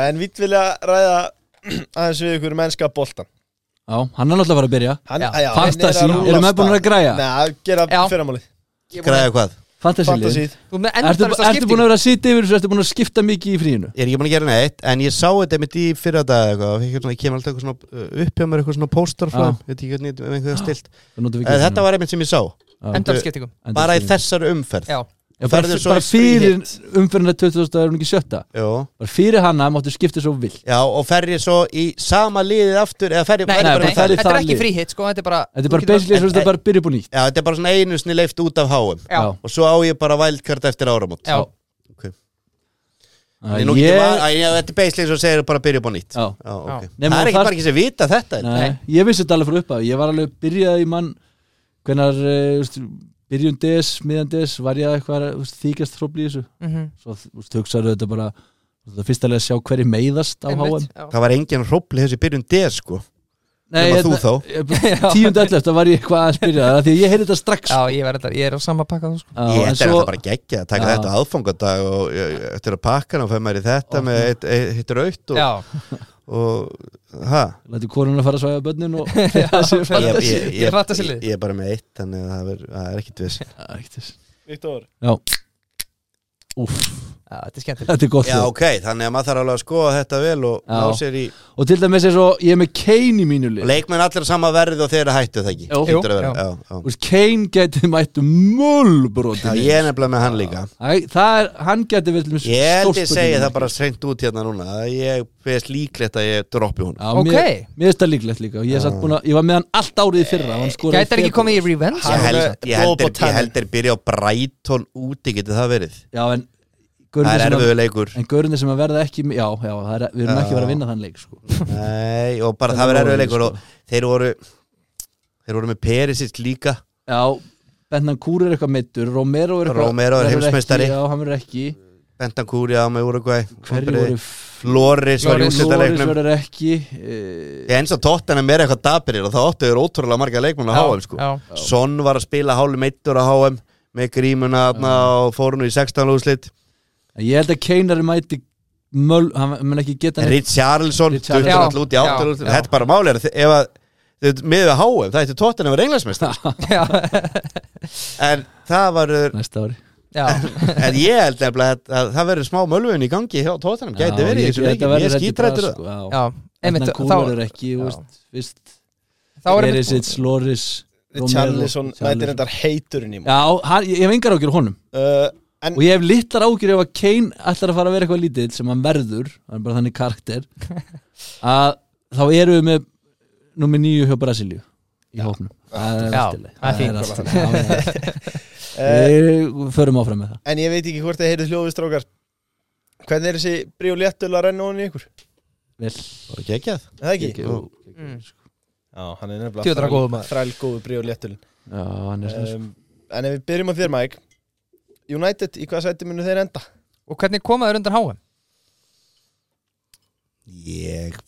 En vitt vilja ræða aðeins við ykkur mennska boltan Já, hann er náttúrulega að fara að byrja Hann, Já. já, hann er Fantasy, að eru rúlla með búin að af græja? stað. Nei, gera Já. fyrramálið Græða hvað? Fantasy lið Fantasy Þú er með endalista Ertu, ertu búin skipting að vera að sitja yfir þessu, ertu búin að skipta mikið í fríinu? Ég er ekki búin að gera neitt En ég sá þetta mitt í fyrra dag eitthvað og fékk svona- Ég hérna kem alltaf eitthvað svona uh, upp hjá mér Eitthvað svona póstar frá Já. þeim. Ég veit ekki hvernig ef einhver það stilt Það notum Ah. við En ekki Þetta var einmitt sem ég sá Já. Endalskiptingum Endalskipting. Bara í þessar umferð Já, Já, bara, Ferðu bara, svo í fyrir frí umferðina 2000 er hún ekki sjötta Jó bara fyrir hana máttu skipta svo vilt Já, og fer ég svo í sama liðið aftur eða fer ég nei, fer nei, ég bara nei, nei, það er í þetta er það ekki lið. fríhitt sko Þetta er bara þetta er þú bara getur- basically en- svo þetta er bara byrja upp og nýtt Já, þetta er bara svona einu sinni leift út af háum Já, Já. og svo á ég bara vældkart eftir áramót já, En nú Ég- getur maður- Æ, já, Þetta er beislega eins og segir bara að byrja upp á nýtt Já. Já, ok. Nei, Það maður er ekki þarf- bara ekki sem vita þetta er. Nei, ég vissi þetta alveg frá upp af ég var alveg byrjað í mann hvenar eh, þú veist, byrjun des, miðjan des var ég að eitthvað þú veist, þykjast þrópli í þessu mhm, svo þú veist, hugsaðu þetta bara þú veist, fyrst alveg að sjá hverju meiðast á HM einmitt, já. Það var engin hrópli þessi byrjun D sko Nema hérna- þú þá. tíund öll það var ég eitthvað að spyrja það af því að ég heyrði þetta strax Já, ég verð þetta, ég er á sama pakka þú sko Já, Ég þetta en er svo- alltaf bara geggja að taka Já. þetta aðfangadag og ég- ég- eftir að pakka hann og fæ maður í þetta Ó. með eitt- eitt eitt raut og, Já, og hæ Lætu konun að fara að svæða börnin og þessi ég, fantasy ég, Ég ratta sér ég, lið. ég er bara með eitt þannig að það er, það er ekkit viss Það er ekkert þess. Viktor Úff, já, þetta er skemmtilegt Þetta er gott Já hljóð. ok, þannig að maður þarf alveg að skoða þetta vel og Já. ná sér í Og til dæmis er svo Ég er með Kane í mínu Og lið leikmenn allir á sama verð og þeir eru hættu það ekki Jú. Hlýtur að vera, Jú. já, Þú veist, Kane gæti um mættu já. Möllbróti já Ég er nefnilega með hann líka Það er, hann gæti vel með Ég held ég segi það bara sreint út hérna núna að Ég veist líklegt að ég droppi hún Já, Ok. mér, mér er þetta líklegt líka og ég, satt búin að, ég var með hann allt árið í fyrra hann Eh, skoraði Gæti ekki febrúar. komið í revenge? Hann Ég held, er- ég held, Bobo er, ég held Tannin. er byrja á Brighton úti getur það verið Já, en Það er gaurarnir sem að- erfiðu leikur En gaurinni sem að verða ekki Já, já, það er, við erum ekki Já. verið að vinna þann leik sko. Nei, og bara Það það er verið erfiðu óvenju, leikur sko. og þeir voru þeir voru með Perisic líka Já, Bennan Kúr er eitthvað meittur Romero er eitthvað Romero er verður ekki, heimsmeistari. Já, hann verður ekki Bentancúri á með Uruguay Hverju Vonbrigði. voru f- Loris var í Loris- Loris úrslitaleiknum verður ekki eh, Ég eins og tóttanum er eitthvað dapirir og það óttu er ótrúlega marga leikmenn á HM sko Já, Son var að spila hálum eittur á HM með grímuna þarna og fór nú í 16 úrslit En Ég held að Keinar mæti möl, hann mun ekki geta neitt Richarlison Richarlison. duttur alltaf út í Já, 8 úrslit já. þetta er bara máli er að þi- ef að þið- miðað við HM, það ætti tóttan að vera englansmestar já, en það var næsta ári já en ég held nefnilega að, að það verður smá mölvun í gangi hjá tóttanum, gæti Já, verið í þessu þetta leikin verður ég held ég skítrættur það bara, sko, já. Já, einmitt, Þannig að þá, Kúlur er ekki, já. þú veist, veist þá er einmitt- Perisic, Loris Richarlison Romero, mætir endar heiturinn í múl Já, hann, ég, ég hef engar ágjur honum uh, En og ég hef littar ágjur ef að Kane ætlar að fara að vera eitthvað lítill sem hann verður, hann er bara þannig karakter að þá eru við með nummi nýju hjá Brasilíu í hóknum Það er Já, allt í lagi. það er fínt. allt í lagi. Já, já. uh, Eh. Við förum áfram með það En ég veit ekki hvort þið heyrið hljóðið strákar Hvernig er þessi brí og léttul að renna honum í ykkur? vel og geggjað Er Það ekki? Jú. Mm. Já, hann er nefnilega Djöfull er hann góður maður. þræl góðu brí og léttul Já, hann er svona um, En ef við byrjum á þér, Mike United, í hvað sæti munu þeir enda? Og hvernig komaður undan háum? ég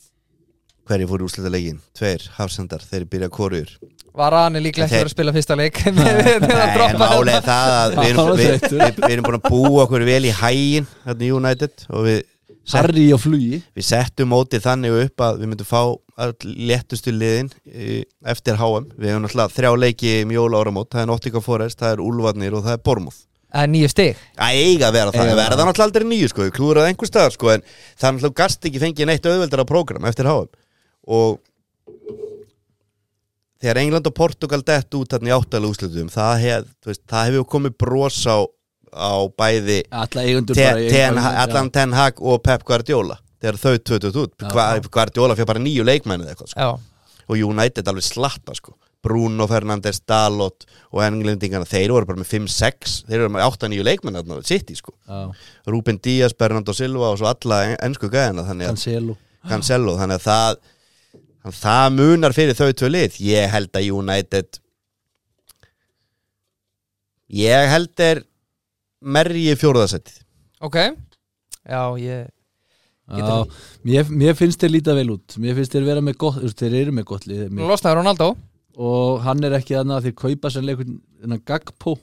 hverju fór í úrslita leikin tveir hafsendar, þeir byrja korur Var hann líklega ekki Þeir- verið að spila fyrsta leik Þegar að Nei, en droppa málið er það að Eh, við erum, Hann var við, þreyttur. við, við erum búin að búa okkur vel í hægin hérna í United og við, set, Harry á flugi við settum mótið þannig upp að við myndum fá öll léttustu liðin e, eftir HM við hefum náttúrulega þrjá leiki um jóla áramót það er Nottingham Forest, það er Úlfarnir og það er Bormóð Það er nýju stig að eiga að vera það, Eiga það að verða vera. náttúrulega aldrei nýju sko, við klúður að einhver staðar sko en það er náttúrulega gast ekki fengið neitt auðveldara prógram eftir háum og þegar England og Portugal dett út þarna í áttalega úslutum það, hef, þú veist, það hefur komið bros á, á bæði Alla eigundur te, bara í- ten, Já. allan Ten Hag og Pep Guardiola þegar þau tvötuð út Já. Gva, Guardiola fyrir bara nýju leikmennið eitthvað sko. Já, og United alveg slatta sko Bruno Fernandes, Dalot og englendingarna, þeir voru bara með 5-6 þeir voru með 8-9 leikmenn þarna City sko Já, Rúben Díaz, Bernardo Silva og svo alla en- ensku gæðina þannig að Cancelo Cancelo þannig að það þannig að það munar fyrir þau tvö lið ég held að United ég held er merji fjórðasettið ok Já, ég Getur Já, mér, mér finnst þeir líta vel út Mér finnst þeir vera með gott, þú veist, þeir eru með gott lið mér- Losnaður Ronaldo og hann er ekki þannig að þeir kaupa sem leikun en að Gagpo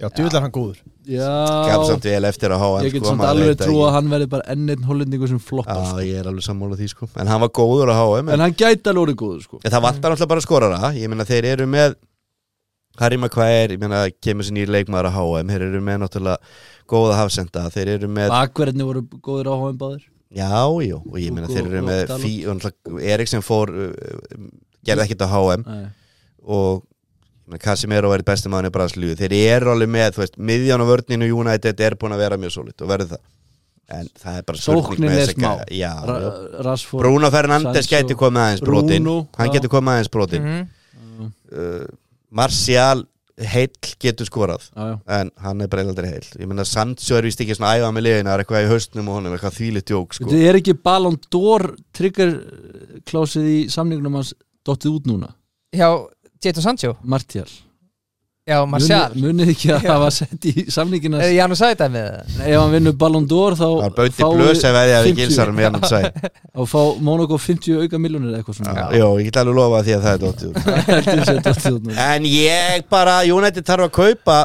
Já, djúðlar hann góður gaf Já, samt vel eftir að háa ég get samt alveg trú að hann verði bara enn einn hollendingur sem floppast Já, ég er alveg sammála því sko En hann var góður að háa sko. en hann gæti alveg orðið góður sko En það vantar alltaf bara skorara Ég meina þeir eru með Harry Maguire, ég meina kemur sér nýr leikmaður að HM Þeir eru með náttúrulega góða hafsenda Þeir eru með, Bakverðinni voru góðir áháum báðir já, já Og ég meina Hugo þeir eru og með Dalot. fí, og náttúrulega Eriksson fór uh, uh, Gerði ekkert á HM Nei. Og ég meina, Casimiro er besti maður í Brasilíu Þeir eru alveg með, þú veist, miðjan og vörninu United er búin að vera mjög svolít og verður það En það er bara spurning Sóknin með er þessa smá. gæja. Já, já. Ra- Rashford Bruno Fernandes Sancho. gæti komið aðeins brotin Bruno, Hann já. gæti komið aðeins brotin Mhm. uh, Martial heill getur skorað já, já. en hann er bara aldrei heill ég meina Sancho er vist ekki svona að æfa með liðina það er eitthvað í haustnum og honum, eitthvað þvílitt jók sko. Þetta er ekki Ballon d'Or trigger eh, klásið í samningnum hans dottið út núna, Já, Jadon Sancho Martial Já, Martial Munið- munið ekki að Já. Eh, það var sett í samningin Er hans Janu sagði það með það? ef hann vinnur Ballon d'Or þá það er bauti fáum blöð sem veðja við hérna um 50. gilsar með hann sæ og fá Monaco 50 auka miljónir eða eitthvað svona Jó, ég get alveg lofa því að það er dóttur Heldur þessi að dottið út núna en ég bara, United þarf að kaupa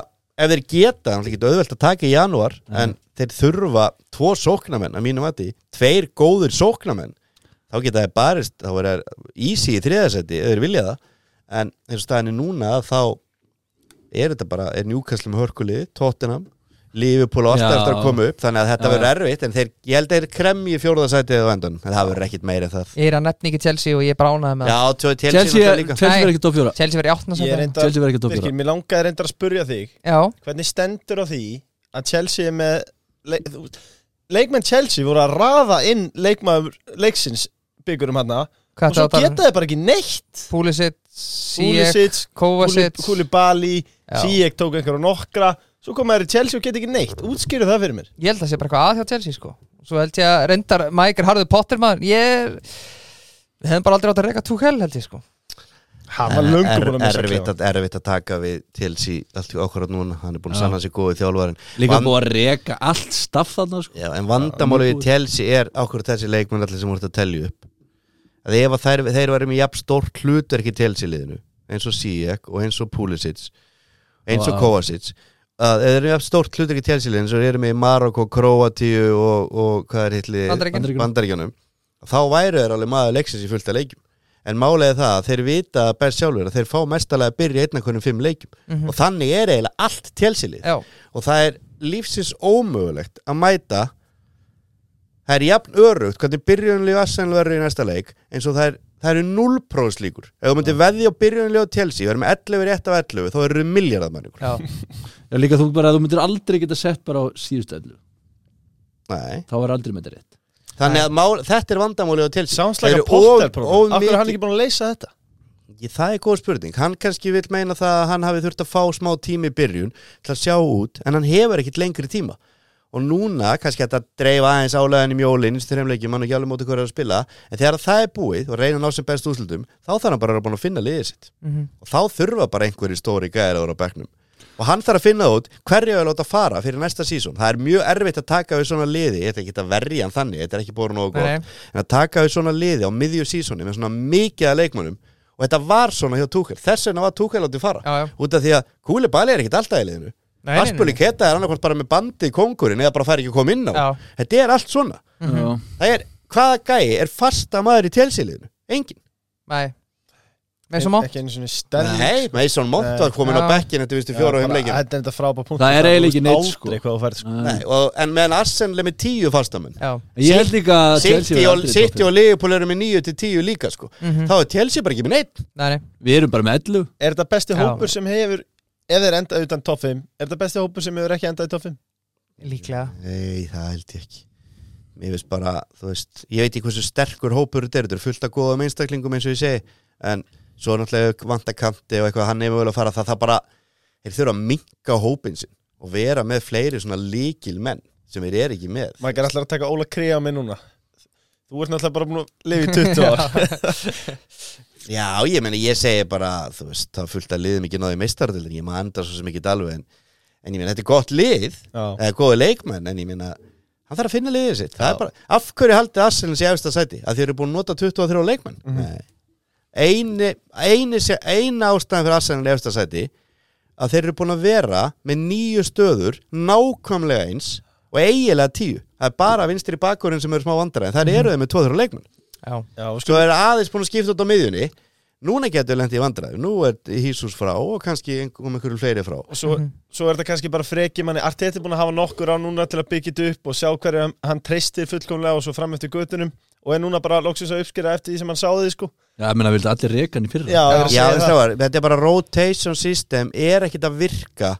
ef þeir geta, hann getur auðvelt að taka í janúar en þeir þurfa tvo sóknamenn að mínum vati, tveir góður sóknamenn þá geta þeir barist þá er það easy í þriðasetti ef þeir vilja það, en eins og staðinni núna þá er þetta bara er njúkastlega með hörkulið, tóttinam Liverpool á alltaf Já. eftir að koma upp þannig að þetta Já, verður erfitt, en þeir, ég held að þeir kremji fjórðasætið á endan, en það verður ekkit meira það Ég er að nefna ekki Chelsea og ég bránaði með Já, það tjóði til Chelsea síðan er- líka Chelsea verður ekki top 4 Chelsea verið áttna Ég er samt reyndar, Chelsea verður ekki topp virkir, fjóra. mér langaði reyndar að spurja þig Já, hvernig stendur á því að Chelsea er með le þú veist, leikmenn Chelsea voru að raða inn leikmaður leiksins byggurum hann og hvað svo það var geta þeir bara ekki neitt um? Pulisic, Sijek, Pulisic, Kovacic Koulibaly Já. Sijek tók einhverja nokkra svo koma þeir í Chelsea og geta ekki neitt útskýru það fyrir mér Ég held að það sé bara eitthvað að hjá Chelsea sko Svo held ég að reyndar Mike er harður Potter maður Ég er- Við hefum bara aldrei átt að reyka Tuchel held ég sko hann var En löngu er, búin að missa erfitt, klefa. að, erfitt að taka við til sí allt í okkur núna, hann er búin að Já. sanna sig góði þjálfarin Líka Van- búið að reka allt staff þarna sko. Já, en vandamáli mjög við Chelsea er okkur þessi leikmenn allir sem voru að telja upp að ef að þær, þeir væri með jafn stórt hlutverk í Chelsea liðinu eins og Sijek og eins og Pulisic eins og Vá. Kovacic að þeir eru með jafn stórt hlutverk í Chelsea liðinu eins og þeir eru með í Marokko, Kroatíu og, og hvað er hitli Bandaríkin. Bandaríkjunum. Bandaríkjunum þá væru þeir alveg maður leiksins í fullt af leikjum en málið er það að þeir vita best sjálfur að þeir fá mestalega að byrja í einna hvernig fimm leikjum Mhm. og þannig er eiginlega allt Chelsea lið Já, og það er lífsins ómögulegt að mæta það er jafn örugt hvernig byrjunlíu Arsenal verður í næsta leik eins og það er það eru 0% líkur ef þú myndir veðja á byrjunlíu á Chelsea verður með 11 rétt af 11 þá eru miljardamenn ykkur já, Já, líka þú bara, þú myndir aldrei geta sett bara á síðustu ellu Nei. þá er aldrei með þetta rétt þannig að mál, þetta er vandamálið á Chelsea Soundslæka Þeir eru Potter of- prófum. of af hverju er hann mikið- ekki búin að leysa þetta Ég, það er góð spurning, hann kannski vil meina það að hann hafi þurft að fá smá tími í byrjun til að sjá út, en hann hefur ekkit lengri tíma og og núna kannski hægt að dreifa aðeins um álæðin í mjólin eins og þeirra leikjum, hann er ekki alveg móti hverju er að spila en þegar það er búið og reyna að ná sem best úrslutum þá þarf hann bara að vera búin að finna liðið sitt Mhm. og þá þurfa bara einhverjir stóri gæðir að vera á bekknum og hann þarf að finna út hverju á að láta fara fyrir næsta sísón það er mjög erfitt að taka við svona liði þetta er ekki að verja hann þannig, þetta er ekki búin Nei, nógu gott nei. en að taka við svona liði á miðju sísóni með svona mikið að leikmönum og þetta var svona hjá Túkel, þess vegna var Túkel látið fara, Já, já. út af því að Kúli Bali er ekkit alltaf í liðinu nei, nei. Aspöli Keta er annarkvæmt bara með bandi í kongurinn eða bara fær ekki að koma inn á Já. Mhm. þetta er allt svona, Já. það er hvaða gæi er fasta maður í telsýliðinu, engin Nei Með svo má Ekki einu svona stærn Nei, Mason Eh, Mount var komin á Já. bekkin þetta vistu fjóra og um leikin Þetta er þetta frábæð punkt Það er eiginlega ekki neitt, sko. Aldrei hvað þú færð sko Nei. Nei, og, en meðan Arsenal er með tíu fastamenn Já, Ég held líka að Chelsea City verði og, aldrei í topp City fimm. og Liverpool eru með níu til tíu líka sko. Mhm. þá er Chelsea bara ekki með neitt nei, nei Við erum bara með 11 Er þetta besti Já. hópur sem hefur Ef þeir endað utan top 5 Er þetta besti hópur sem hefur ekki endað í top 5 Líklega Nei, það held ég ekki Mér veist bara, þú veist Ég veit ekki hversu sterkur hópur þetta er Þetta er fullt af góðum einstaklingum eins og ég segi En svo náttúrulega vantakanti og eitthvað Hann nefnir vel að fara það Það bara, þeir þurfa að minka hópin sinn Og vera með fleiri svona líkil menn Sem þeir eru ekki með Mæk er alltaf að taka Óla Krea með núna Þú ert náttúrulega bara búin að lifa í 20 ár Já, ég meni, ég segi bara Þú veist, það er fullt af liðum ekki náði meistardildin Ég maður andar svo sem ekki alveg En, en ég meni, þetta er gott lið Já. eða góði leikmenn en ég minna hann þarf að finna liðið sitt Það Já. er bara, af hverju haldið Arsenal sé efsta sæti að þið eru búin að nota 23 leikmenn mm Mhm. -hmm. eini, eini, sé- eina ástæðan fyrir Arsenal í efsta sæti að þeir eru búin að vera með nýju stöður nákvæmlega eins og eiginlega tíu það er bara vinstri bakkurinn sem eru smá vandara en það Mhm. eru þeir með 23 leikmenn Já, Já, og sko svo er aðeins búin að skipta út á miðjunni núna getur lendið í vandræðu nú er Hísus frá og kannski ein- kom einhverju fleiri frá og svo, svo er þetta kannski bara freki manni Arteta er búin að hafa nokkur á núna til að byggja þetta upp og sjá hverju hann, hann treystir fullkomlega og svo fram eftir göttunum og er núna bara loksins að uppskera eftir því sem hann sáði sko. Já, ég meina, vildu allir reka hann í fyrra Já, já, Já, já, þessi var, þetta er bara rotation system er ekkit að virka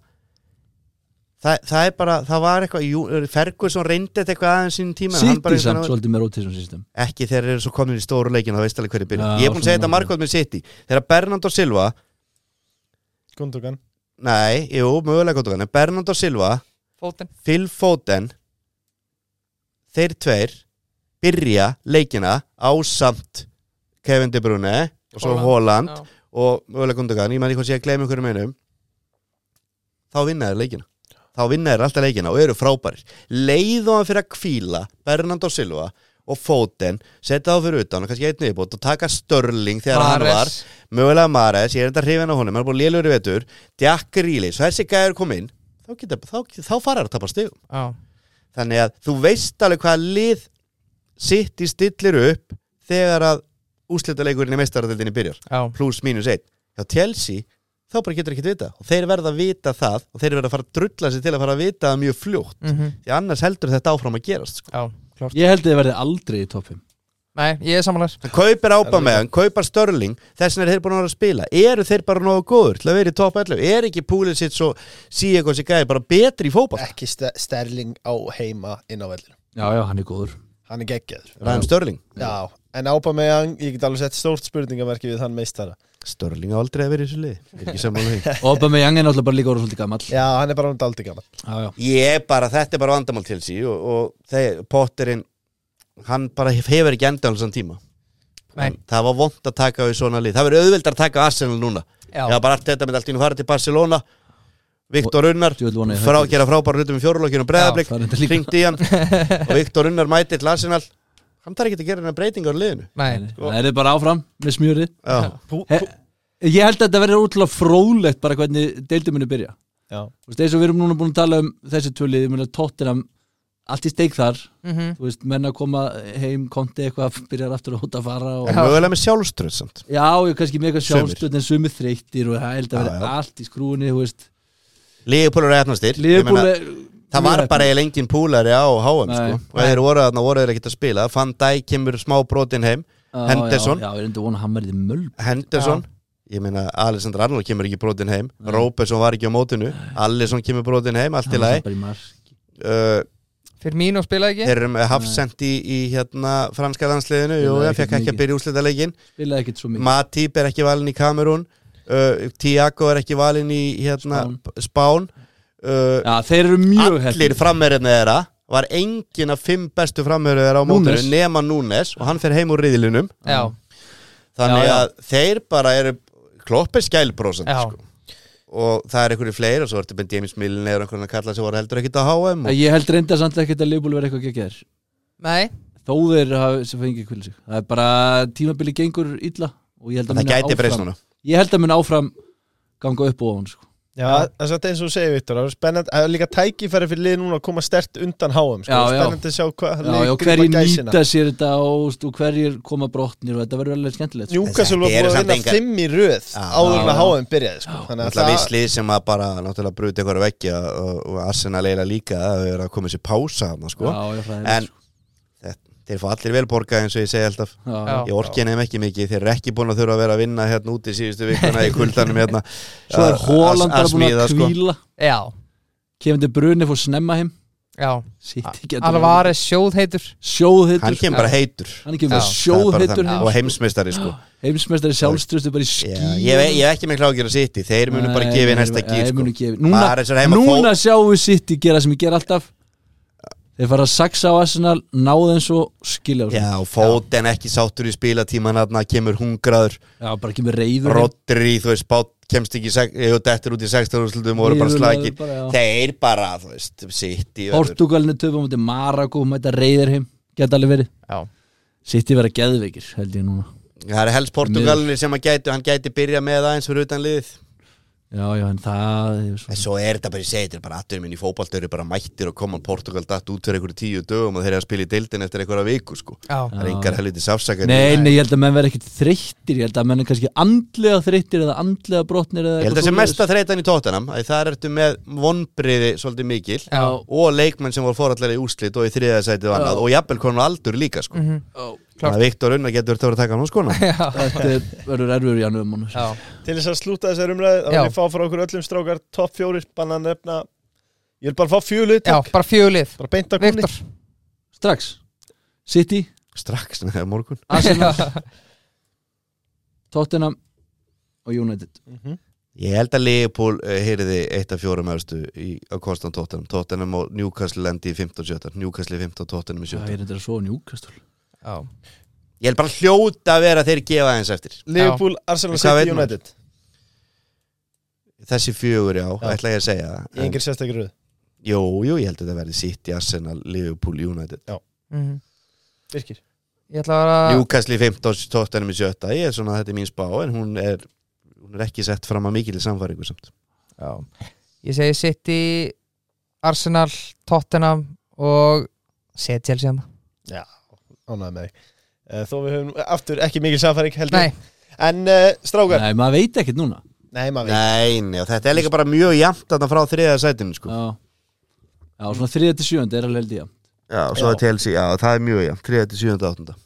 Þa, það er bara, það var eitthvað jú, Ferguson reyndi þetta eitthvað aðeins sínum tíma en hann bara City einhvern samt veginn- svolítið með rotation system ekki þegar þeir eru svo komin í stóru leikina það veist alveg hverju byrja Já, ég er búin að segja svona. þetta margóð með City þegar Bernardo Silva, Gundogan nei, jú, mögulega gott og kannan Bernardo Silva, fótinn Phil Foden þeir tveir byrja leikina á samt Kevin De Bruyne og svo Haaland. Holland Já, og mögulega Gundogan, ég maður hvað sé að gleyma einhverjum einum þá vinna þeir leikina þá vinna þeir alltaf leikina og eru frábærir leiðu hann fyrir að kvíla Bernardo Silva og Foden setja þá fyrir utan og kannski einn viðbót og taka Störling þegar hann var Mahrez. mögulega Mares, ég er þetta hrifin á honum hann er búin lélugur í vetur, Jack Reilly svo þessi gæður kom inn þá, geta, þá, þá fara að tapa stigum já, þannig að þú veist alveg hvað lið sitt í stillir upp þegar að úslitaleikurinn í meistaradildinni byrjar já pluss mínus einn hjá Chelsea þá bara getur ekki vita og þeir verða að vita það og þeir verða að fara að drulla sig til að fara að vita það mjög fljótt mhm, því annars heldur þetta áfram að gerast sko. Já, klart Ég held að þið verði aldrei í topp 5 Nei, ég er samanlegar hann kaupir ápa með hann, kaupar Störling þess vegna er þeir búin að vera að spila eru þeir bara nógu góður til að vera í top 11 er ekki púlið sitt svo síðan hvað sér gæði bara betri í fótball ekki ste- Sterling á heima inn á vellinu Já, já, hann er góður hann er geggjaður ræðum Störling Já, en ápa með hann ég get alveg sett stórt spurningamerki við hann meistara Störling á aldrei að vera í þessu lið Ég er ekki sammála því. Og bara með Young er náttúrulega bara líka orðið svolítið gammal Já, Já, hann er bara um daldi gaman já, ég er bara, þetta er bara vandamál Chelsea og, og þeir, Potterinn hann bara hefur ekki endanlega tíma Nei, það var vond að taka við svona lið það verður auðveldar að taka Arsenal núna já, já, bara allt þetta með allt í nú fara til Barcelona Viktor Unnar djöfull vona ég það frá gerist. gera frábæra hlutum í fjórulokinu breðablik, það er þetta líka. ringdi í hann og Viktor Unnar mæti til Arsenal hann þarf ekki að gera hennar breytingar á liðinu nei það er bara áfram með smjöri já, Pú, He, Ég held að þetta verður útrúlega fróðlegt bara hvernig deildum minni byrja Já, Þú veist, eins og við erum núna búin að tala um þessi tvölið, ég meina tóttinam allt í steik þar, mhm, þú veist, menn að koma heim, konti eitthvað, byrjar aftur að hóta að fara og og mögulega með sjálfströð samt Já, ég kannski með eitthvað Sumir. sjálfstöð en sumir þreyttir og það held að Já, vera já. allt í skrúinni, þú veist Liverpool eru efnastir Liverpool Ég meina, er- það var bara eiginlega engin púlari á HM Nei. sko. og ef þeir voru þarna voru þeir ekki að spila Van Dijk kemur smá brotin heim Já, Henderson. Já, já, ég reyndi að vona að hann verði möll Henderson Ég meina, Alessandr Arnold kemur ekki brotin heim Rópesson var ekki á mótinu Allison kemur brotin heim, allt í lagi uh, Fyrir mín og spila ekki Þeir eru með hafsend í, í hérna, franska landsliðinu Jú, Spilaði það fekk ekkert ekki mikið. að byrja úrslitaleikin Spilaði ekkert svo mikið Matip er ekki valin í Kamerún uh, Tiago er ekki valin í hérna, Spán, Spán. uh, Já, þeir eru mjög allir frammeirinu þeirra var engin af fimm bestu frammeirinu þeirra á Núñez. mótinu nema Núnes og hann fer heim úr riðilunum já, þannig Já, já. að þeir bara eru kloppir skælbrósend já, sko. og það er einhverju fleiri og svo ertu Ben James Milne eða einhverjum að kalla sem voru heldur ekkit að háa og... Ég held reynda samt ekkert að Leopold verið eitthvað geggjær nei Þó þeir hafi sem fengið kvilið sig Það er bara tímabili gengur illa og ég held að það muni gæti breyst áfram núna Ég held að mun áfram ganga upp og ofan sko. Já, það er satt eins og þú segir, Viktor, það er spennandi Það er líka tækifæri fyrir lið núna að koma stert undan háum sko. Já, Það er já. Spennandi að sjá hvað Já, já, hverjir nýta sér þetta og, veist, og hverjir koma brotnir og þetta verður alveg skemmtilegt sko. Newcastle Þetta var búið eru að samt vinna engar- fimm í röð Já, áður en já, að já. háum byrjaði sko. Þannig að Alltaf það, visslið sem að bara náttúrulega bruti einhverja veggja og, og Arsenal eiginlega líka að það er að koma sér pása hana, sko. Já, já, það er en þetta, þeir fá allir vel borgað eins og ég segi alltaf já, Já. ég orkið nefn ekki mikið, þeir eru ekki búin að þurfa að vera að vinna hérna úti síðustu vikuna í kuldanum hérna Svo er Holland bara búin að smíða, kvíla sko. já, Kefndi Brunni fór snemma heim já Sitt ekki Alvarez sjóðheitur Sjóðhittur hann kemur bara heitur Hann kemur bara Já. Það er bara sjóðhittur þannig. heim og heimsmeistari sko Ah, Heimsmeistari sjálfströstu bara í Já, skýr ég, ve- ég hef ekki miklu ágjör að sitt þeir munu bara gefa í næsta gýr sko. Núna, Maris er heima núna sjáum við sitt í gera sem ég ger alltaf Þeir fara að saxa á Arsenal Náðum svo skilja á sig. Já, fóten ekki sáttur í spilatíman hann kemur hungraður, Já, bara kemur reyður heim. Rodri þú veist, bát kemst ekki í seg- eða dettur út í 16 úrslutum og voru bara Niðurlægður slækir bara, já. þeir bara, þú veist, sitt í öður Portugalinu töfum mútið Maragó Mæta reyður heim Geta alveg verið já, City Sitt í vera geðveikir held ég núna það er helst Portugalinu sem að gæti hann gæti byrja með aðeins fyrir utan liðið Já, já, en það er en svona svo er þetta bara, ég segi, þetta er bara aðdur minn í fótbalt þeir eru bara mættir og koma Portugal datt út fyrir einhverju tíu dögum og þeir eru að spila í deildin eftir einhverja viku sko. já, það er engar helviti sáfsakar Nei, nei, ég held að menn verði ekkert þreyttir Ég held að menn er kannski andlega þreyttir eða andlega brotnir eða Ég held að eitthvað það sé svoleiðis. mesta þreytan í tóttanam að það ertu með vonbriði svolítið mikil já, og leikmenn sem voru forallega í úslit og í þriðasætið og annað og jafnvel konum aldur líka sko. mhm, þannig að Viktor Unnar getur verið að taka hann á skona já, Þetta er- verður erfur í janúum mánuð. já til þess að slúta þessar umræði Það Já. vil ég fá frá okkur öllum strákar Topp fjórir, banna að nefna Ég vil bara fá fjölu já, Bara bara fjögulið beint að kúni Viktor, Strax City, strax, neða morgun Arsenal, Tottenham og United Ég held að Leopold uh, heyrði eitt af fjórum öðustu á kostan tóttanam tóttanam og Newcastle lendi í 15-17 Newcastle í 15, tóttanam í Já, 17 ég reyndir að svo njúkastól já, Ég held bara hljóta að vera að þeir gefa aðeins eftir Liverpool, Arsenal, En hvað City, veit maður? United Þessi fjögur, já, Já. ætla ég að segja það. Í en, engir sérstakir röð Jú, jú, ég held að þetta verði City, Arsenal, Liverpool, United mhm Virkir Ég ætla að vera Newcastle í 15, tóttanum í 17 Ég er svona, þetta er mín spá, en hún er hún er ekki sett fram að mikil í samfæringu samt Já. Ég segi City, Arsenal, Tottenham og seti Chelsea hérna. hann Ánæði með þig Eh, Þó við höfum aftur ekki mikil samfæring heldur Nei, En uh, strákar Nei, maður veit ekkert núna Nei, maður veit Nei, nei, og þetta er líka bara mjög jæmt þarna frá þriða sætinu, sko Já, já svona 3. til 7. er alveg held ég Já, og svo Já. er TLC, já, það er mjög jæmt, 3. til 7. 8.